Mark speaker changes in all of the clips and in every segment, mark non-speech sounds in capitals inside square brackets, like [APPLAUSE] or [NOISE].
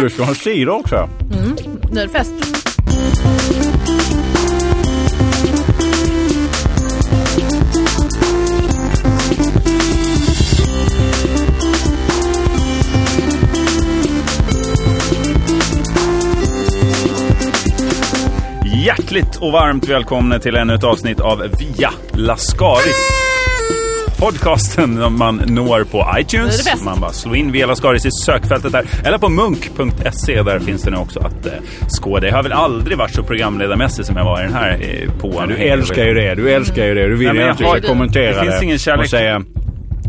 Speaker 1: Du ska ha sirap också.
Speaker 2: Nu är det fest.
Speaker 3: Mm.
Speaker 1: Hjärtligt och varmt välkomna till ännu ett avsnitt av Via Lascaris. Podcasten som man når på
Speaker 2: Nu är det
Speaker 1: iTunes.
Speaker 2: bäst.
Speaker 1: Man bara slår in Via Lascaris i sökfältet där. Eller på munk.se. Där finns det nu också att eh, skåda. Jag har väl aldrig varit så programledarmässig som jag var i den här eh, på.
Speaker 3: Du älskar ju det. Du älskar ju det. Du vill
Speaker 1: Nej, men jag
Speaker 3: egentligen
Speaker 1: har-
Speaker 3: kommentera
Speaker 1: det
Speaker 3: det.
Speaker 1: finns ingen kärlek.
Speaker 3: Och säga,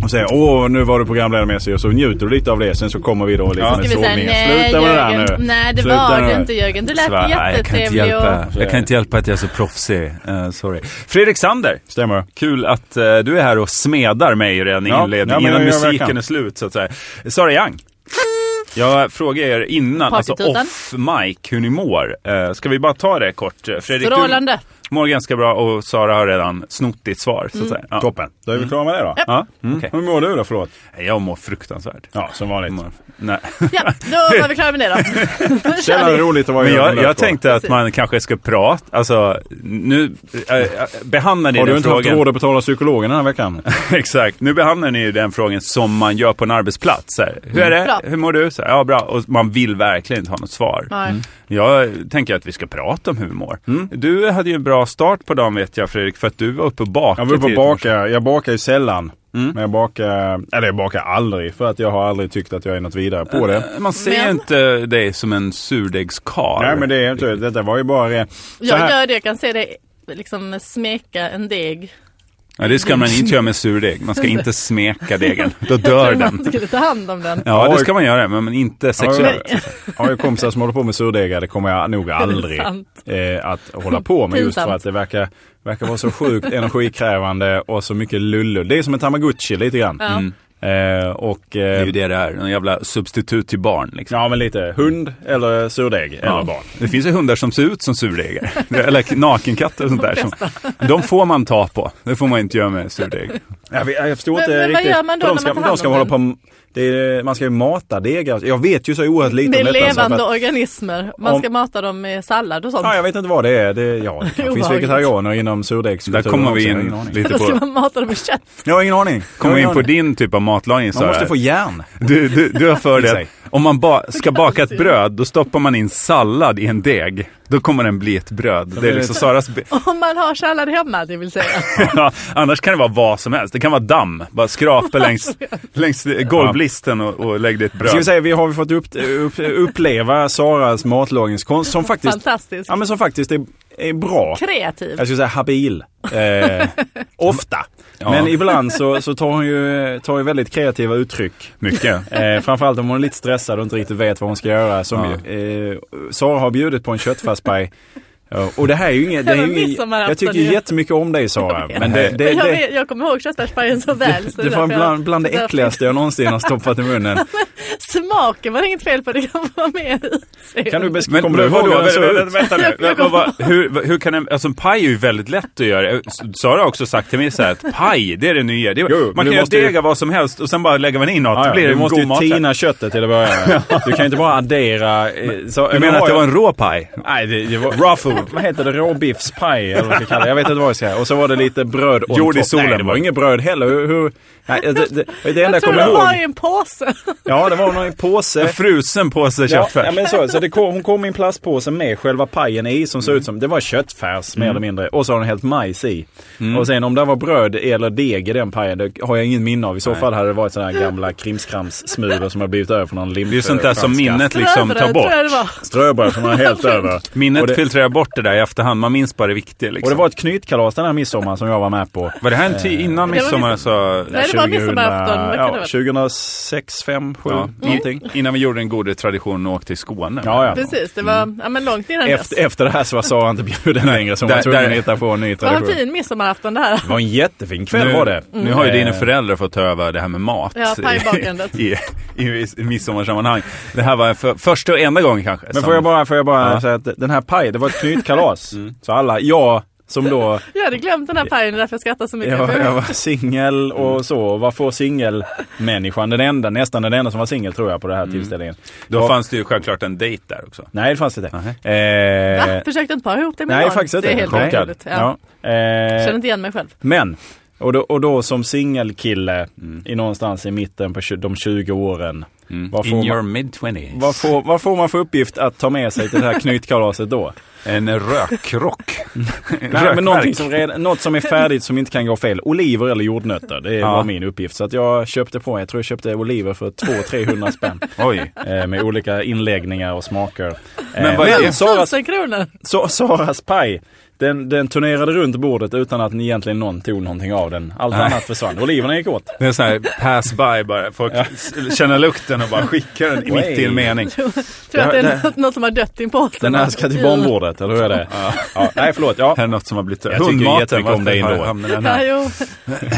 Speaker 3: och säga åh nu var du programledarmässig och så njuter du lite av det. Sen så kommer vi då liksom
Speaker 1: Ja.
Speaker 3: med
Speaker 1: Ska
Speaker 2: vi säga,
Speaker 3: sågningen.
Speaker 2: nej,
Speaker 3: Sluta med det där
Speaker 2: Jörgen.
Speaker 3: nu.
Speaker 2: Nej, det
Speaker 3: Sluta
Speaker 2: var
Speaker 3: nu.
Speaker 2: det inte Jörgen. Du lät
Speaker 1: Svar, jag kan inte
Speaker 2: jättetrevlig
Speaker 1: hjälpa.
Speaker 2: och...
Speaker 1: Jag kan inte hjälpa att jag är så proffsig. Eh, sorry. Fredrik Sander.
Speaker 3: Stämmer.
Speaker 1: Kul att eh, du är här och smedar mig redan i
Speaker 3: Ja, ja,
Speaker 1: inledningen,
Speaker 3: men jag
Speaker 1: innan
Speaker 3: gör vad jag
Speaker 1: musiken
Speaker 3: kan.
Speaker 1: är slut så att säga. Sara Young. Jag frågar er innan, alltså
Speaker 2: Partytutan.
Speaker 1: off mic, hur ni mår. Eh, ska vi bara ta det kort? Eh, Fredrik,
Speaker 2: Strålande.
Speaker 1: du mår ganska bra och Sara har redan snott ditt svar.
Speaker 2: Mm.
Speaker 1: Så att säga. Ja.
Speaker 3: Toppen. Då är vi klara med det då.
Speaker 1: Ja, Mm. okej.
Speaker 3: Hur mår du då? Förlåt.
Speaker 1: Jag mår fruktansvärt.
Speaker 3: Ja, som
Speaker 1: Jag
Speaker 3: vanligt.
Speaker 1: mår- Nej. [LAUGHS]
Speaker 3: [LAUGHS]
Speaker 2: Ja, då var vi klara med det då. [LAUGHS] Nu
Speaker 3: Sällan
Speaker 2: kör
Speaker 3: är det
Speaker 2: vi.
Speaker 3: roligt att vara
Speaker 1: Men
Speaker 3: i
Speaker 1: jag,
Speaker 3: ögonen
Speaker 1: jag
Speaker 3: på.
Speaker 1: tänkte att man kanske ska prata, alltså nu äh, äh, behandlar ni
Speaker 3: Har du
Speaker 1: den
Speaker 3: inte haft
Speaker 1: frågan.
Speaker 3: råd att betala psykologen den här veckan?
Speaker 1: [LAUGHS] Exakt, nu behandlar ni ju den frågan som man gör på en arbetsplats. Så här. Hur är det?
Speaker 2: Mm. Bra.
Speaker 1: Hur mår du? Så här, ja, bra. Och man vill verkligen inte ha något svar.
Speaker 2: Nej.
Speaker 3: Mm.
Speaker 1: Jag tänker att vi ska prata om hur vi mår. Du hade ju en bra start på dagen vet jag Fredrik, för att du var uppe och bakade.
Speaker 3: Jag vill på
Speaker 1: tidigt.
Speaker 3: baka. Jag bakar ju sällan.
Speaker 1: Mm.
Speaker 3: Men jag bakar, eller jag bakar aldrig för att jag har aldrig tyckt att jag är något vidare på det.
Speaker 1: Eh, Man ser
Speaker 2: Men-
Speaker 1: inte dig som en surdegskarl.
Speaker 3: Nej men det är inte, detta var ju bara ren- så
Speaker 2: Jag
Speaker 3: här-
Speaker 2: gör det, jag kan se dig liksom smeka en deg.
Speaker 1: Ja, det ska man
Speaker 2: [LAUGHS]
Speaker 1: inte göra med surdeg. Man ska inte smeka
Speaker 3: [LAUGHS]
Speaker 1: degen, då dör
Speaker 2: Man [LAUGHS]
Speaker 1: den.
Speaker 2: skulle ta hand om den.
Speaker 1: Ja, det ska man göra, men inte sexuellt.
Speaker 3: Ja, jag- jag har ju kompisar som håller på med surdegar. Det kommer
Speaker 2: [LAUGHS]
Speaker 3: jag nog aldrig
Speaker 2: sant.
Speaker 3: eh, att hålla
Speaker 2: [LAUGHS]
Speaker 3: på med. Just för
Speaker 2: Pinsamt.
Speaker 3: att det verkar, verkar vara så sjukt energikrävande och så mycket lullull. Det är som en tamagotchi lite grann. Eh, och,
Speaker 1: Mm. Det är
Speaker 3: eh,
Speaker 1: ju det det är, en jävla substitut till barn. Liksom.
Speaker 3: ja men lite hund eller surdeg eller barn.
Speaker 1: Det finns ju hundar som ser ut som
Speaker 3: [LAUGHS]
Speaker 1: surdegar. Eller nakenkatter och sånt där. Som, de får man ta på. Det får man inte göra med surdeg.
Speaker 3: Jag, vet- jag förstår
Speaker 2: Men-
Speaker 3: inte
Speaker 2: men vad
Speaker 3: riktigt.
Speaker 2: gör man då
Speaker 3: För de
Speaker 2: när
Speaker 3: ska,
Speaker 2: man tar hand
Speaker 3: de ska
Speaker 2: om
Speaker 3: hålla
Speaker 2: den?
Speaker 3: på, det är, man ska ju mata degar. Jag vet ju så oerhört lite
Speaker 2: Det är
Speaker 3: om detta. så att-
Speaker 2: levande organismer. Man
Speaker 3: Om-
Speaker 2: ska mata dem med sallad och sånt.
Speaker 3: Ja, jag vet inte vad det är. Det,
Speaker 2: [LAUGHS]
Speaker 3: ja, det finns
Speaker 2: Obehagligt.
Speaker 3: vegetarianer inom
Speaker 1: Där
Speaker 3: surdegskulturen
Speaker 1: kommer vi
Speaker 3: också. Jag har
Speaker 1: in
Speaker 3: ingen aning.
Speaker 1: lite
Speaker 2: [LAUGHS] Då ska
Speaker 1: på...
Speaker 2: man mata dem med kött.
Speaker 3: Jag har ingen aning.
Speaker 1: Kommer vi in på
Speaker 3: det.
Speaker 1: din typ av matlagning
Speaker 3: Man måste
Speaker 1: Sara?
Speaker 3: få järn.
Speaker 1: Du, du, du har för
Speaker 3: I
Speaker 1: dig
Speaker 3: sig.
Speaker 1: att om man ba, ska baka ett bröd, då stoppar man in sallad i en deg. Då kommer den bli ett bröd. Det är
Speaker 3: blir
Speaker 1: liksom
Speaker 3: det-
Speaker 1: Saras... be-
Speaker 2: Om man har sallad hemma, det vill
Speaker 3: [LAUGHS]
Speaker 2: säga.
Speaker 1: Ja, annars kan det vara vad som helst. Det kan vara damm. Bara skrapa längs, längs golvlisten och, och lägg dig ett
Speaker 3: Ska vi
Speaker 1: bröd.
Speaker 3: säga, vi har fått upp, upp, uppleva Saras matlagningskonst som faktiskt,
Speaker 2: Fantastisk.
Speaker 3: ja, men Alltså, som faktiskt är, är bra.
Speaker 2: Kreativ.
Speaker 3: Jag skulle säga habil. Eh, ofta.
Speaker 1: Ja.
Speaker 3: Men ibland så, så tar hon ju, tar ju väldigt kreativa uttryck.
Speaker 1: Mycket.
Speaker 3: Eh, framförallt om hon är lite stressad och inte riktigt vet vad hon ska göra. Som, eh, Sara har bjudit på en köttfärspaj. Ja, Och det här är ju inget, det är
Speaker 2: Ja,
Speaker 3: ju
Speaker 2: men
Speaker 3: inget,
Speaker 2: midsommarafton
Speaker 3: jag tycker
Speaker 2: är ju-
Speaker 3: ju jättemycket om dig Sara.
Speaker 2: [LAUGHS]
Speaker 3: Men det, det,
Speaker 2: jag,
Speaker 3: det,
Speaker 2: vet, jag kommer ihåg köttfärspajen så väl. Så
Speaker 3: det
Speaker 2: därför
Speaker 3: var bland, bland det
Speaker 2: därför-
Speaker 3: äckligaste jag någonsin har stoppat i munnen.
Speaker 2: Smaken var det inget fel på, det kan vara mer utseende.
Speaker 3: Kan du bes-
Speaker 1: Men
Speaker 3: kommer du ihåg Alltså,
Speaker 1: vadå?
Speaker 3: hur den
Speaker 1: Vänta,
Speaker 3: såg
Speaker 1: vänta,
Speaker 3: ut?
Speaker 1: vänta nu. Vad- vad- hur, hur kan en, alltså en paj är ju väldigt lätt att göra. Sara har också sagt till mig så här att paj, det är det nya. Det, är-
Speaker 3: Jo, men
Speaker 1: man
Speaker 3: du
Speaker 1: kan göra
Speaker 3: måste ju-
Speaker 1: dega vad som helst och sen bara lägger man in något.
Speaker 3: Ja,
Speaker 1: då
Speaker 3: ja,
Speaker 1: blir det
Speaker 3: du
Speaker 1: en
Speaker 3: måste
Speaker 1: god
Speaker 3: ju
Speaker 1: matlätt.
Speaker 3: tina köttet till att börja med. Du kan ju inte bara addera. eh, Så,
Speaker 1: Du menar att det var en rå paj?
Speaker 3: Nej, det, det var... Raw food. Vad heter det? Råbiffspaj eller vad man ska kalla det. Jag vet inte vad jag ska säga. Och så var det lite bröd on
Speaker 1: Jord i
Speaker 3: top.
Speaker 1: solen
Speaker 3: Nej, det var
Speaker 1: bara.
Speaker 3: inget bröd heller. Hur, hur... Nej, det, det, det enda jag,
Speaker 2: jag tror
Speaker 3: kommer
Speaker 2: de har i
Speaker 3: ihåg.
Speaker 2: en påse.
Speaker 3: Ja, det var någon
Speaker 1: En
Speaker 3: påse.
Speaker 1: frusen påse
Speaker 3: Ja,
Speaker 1: köttfärs.
Speaker 3: ja, men så, så det kom, hon kom i en plastpåse med själva pajen i som såg ut som, det var köttfärs
Speaker 1: Mm.
Speaker 3: mer eller mindre. Och så har hon hällt majs i. Och sen om det var bröd eller deg i den pajen, det har jag inget minne av. I så fall hade det varit sådana här gamla krimskramssmulor som har blivit över från någon limpa.
Speaker 1: det är ju sånt där som
Speaker 2: [LAUGHS]
Speaker 1: minnet liksom tar
Speaker 2: Ströbröd
Speaker 1: bort.
Speaker 2: tror jag det var.
Speaker 3: Ströbröd som man har
Speaker 1: [LAUGHS]
Speaker 3: hällt över.
Speaker 1: Minnet
Speaker 3: Och det-
Speaker 1: filtrerar bort det där i efterhand. Man minns bara det viktiga.
Speaker 3: Och det
Speaker 1: Liksom.
Speaker 3: var ett knytkalas den här midsommaren som jag var med på.
Speaker 1: Var det här en tid innan
Speaker 2: Eh, Det var
Speaker 1: midsommar? Så,
Speaker 2: Nej, det var midsommarafton. Vad kan det
Speaker 3: ja,
Speaker 2: vara?
Speaker 3: 2006, 5, 7
Speaker 2: Mm.
Speaker 1: ja, i-
Speaker 3: någonting.
Speaker 1: Innan vi gjorde den goda traditionen och åkte till Skåne.
Speaker 3: Ja, ja.
Speaker 2: Precis, det var ja, men långt innan dess.
Speaker 3: Efter, efter det här så var Sara inte bjuden längre så hon
Speaker 1: Mm. där-
Speaker 3: var tvungen
Speaker 1: där-
Speaker 3: att hitta på en ny
Speaker 2: Vad en
Speaker 3: tradition.
Speaker 2: fin midsommarafton det här.
Speaker 3: Det var en jättefin kväll
Speaker 1: Nu,
Speaker 3: var det.
Speaker 1: nu har ju
Speaker 3: Eh,
Speaker 1: dina föräldrar fått ta över det här med mat
Speaker 2: Ja, pajbakandet.
Speaker 1: i, i, i, i midsommarsammanhang. Det här var för, första och enda gången kanske.
Speaker 3: Men
Speaker 1: som-
Speaker 3: får jag bara, får jag bara
Speaker 1: Ja.
Speaker 3: säga att den här pajen, det var ett knytkalas. Så alla, jag,
Speaker 2: [LAUGHS]
Speaker 3: Som då
Speaker 2: Jag hade glömt den här pajen, det är därför jag skrattar så mycket.
Speaker 3: Jag,
Speaker 2: För-
Speaker 3: jag var singel och så. Och Vad får singelmänniskan? Den enda, nästan den enda som var singel tror jag på den här tillställningen.
Speaker 1: Då
Speaker 3: Ja.
Speaker 1: fanns det ju självklart en dejt där också.
Speaker 3: Nej, det fanns det inte. Eh,
Speaker 2: Va? Försökte inte para ihop det med
Speaker 3: nej,
Speaker 2: barn?
Speaker 3: faktiskt inte.
Speaker 2: Det är helt
Speaker 3: Nej.
Speaker 2: otroligt. Ja.
Speaker 3: Ja. Eh,
Speaker 2: Känner inte igen mig själv.
Speaker 3: Men, och då, och då som singelkille
Speaker 1: Mm.
Speaker 3: i någonstans i mitten på tju- de 20 åren. Vad, får
Speaker 1: Mm. In your
Speaker 3: man,
Speaker 1: mid 20s.
Speaker 3: vad, får, vad får man för uppgift att ta med sig till det här [LAUGHS] knytkalaset då?
Speaker 1: En rökrock.
Speaker 3: [LAUGHS] Nej, men någonting
Speaker 1: Rökverk.
Speaker 3: som redan, något [LAUGHS] som är färdigt som inte kan gå fel. Oliver eller jordnötter, det
Speaker 1: Ja.
Speaker 3: var min uppgift. Så att jag köpte på mig, jag tror jag köpte oliver för 200-300 [LAUGHS] spänn.
Speaker 1: Oj.
Speaker 3: Eh, med olika inläggningar och smaker. Eh,
Speaker 1: Men vad är det?
Speaker 3: Saras,
Speaker 2: Tusen kronor! [LAUGHS]
Speaker 3: Sa- Saras paj, den, den turnerade runt bordet utan att ni egentligen någon tog någonting av den. Allt annat försvann. Oliverna gick åt.
Speaker 1: Det är sån här pass by bara. Folk känner lukten och bara skickar den mitt i en mening.
Speaker 2: Tror att det
Speaker 1: Det-
Speaker 2: är något, något som har dött i en påse.
Speaker 3: Den här ska till barnbordet, eller hur är det? Ja. nej, förlåt. Ja.
Speaker 1: Det här är något som har blivit...
Speaker 3: Jag tycker
Speaker 1: Hundmaten,
Speaker 3: jättemycket om
Speaker 1: varför
Speaker 3: dig
Speaker 1: har
Speaker 3: ändå.
Speaker 1: hamnat den här?
Speaker 2: Ja,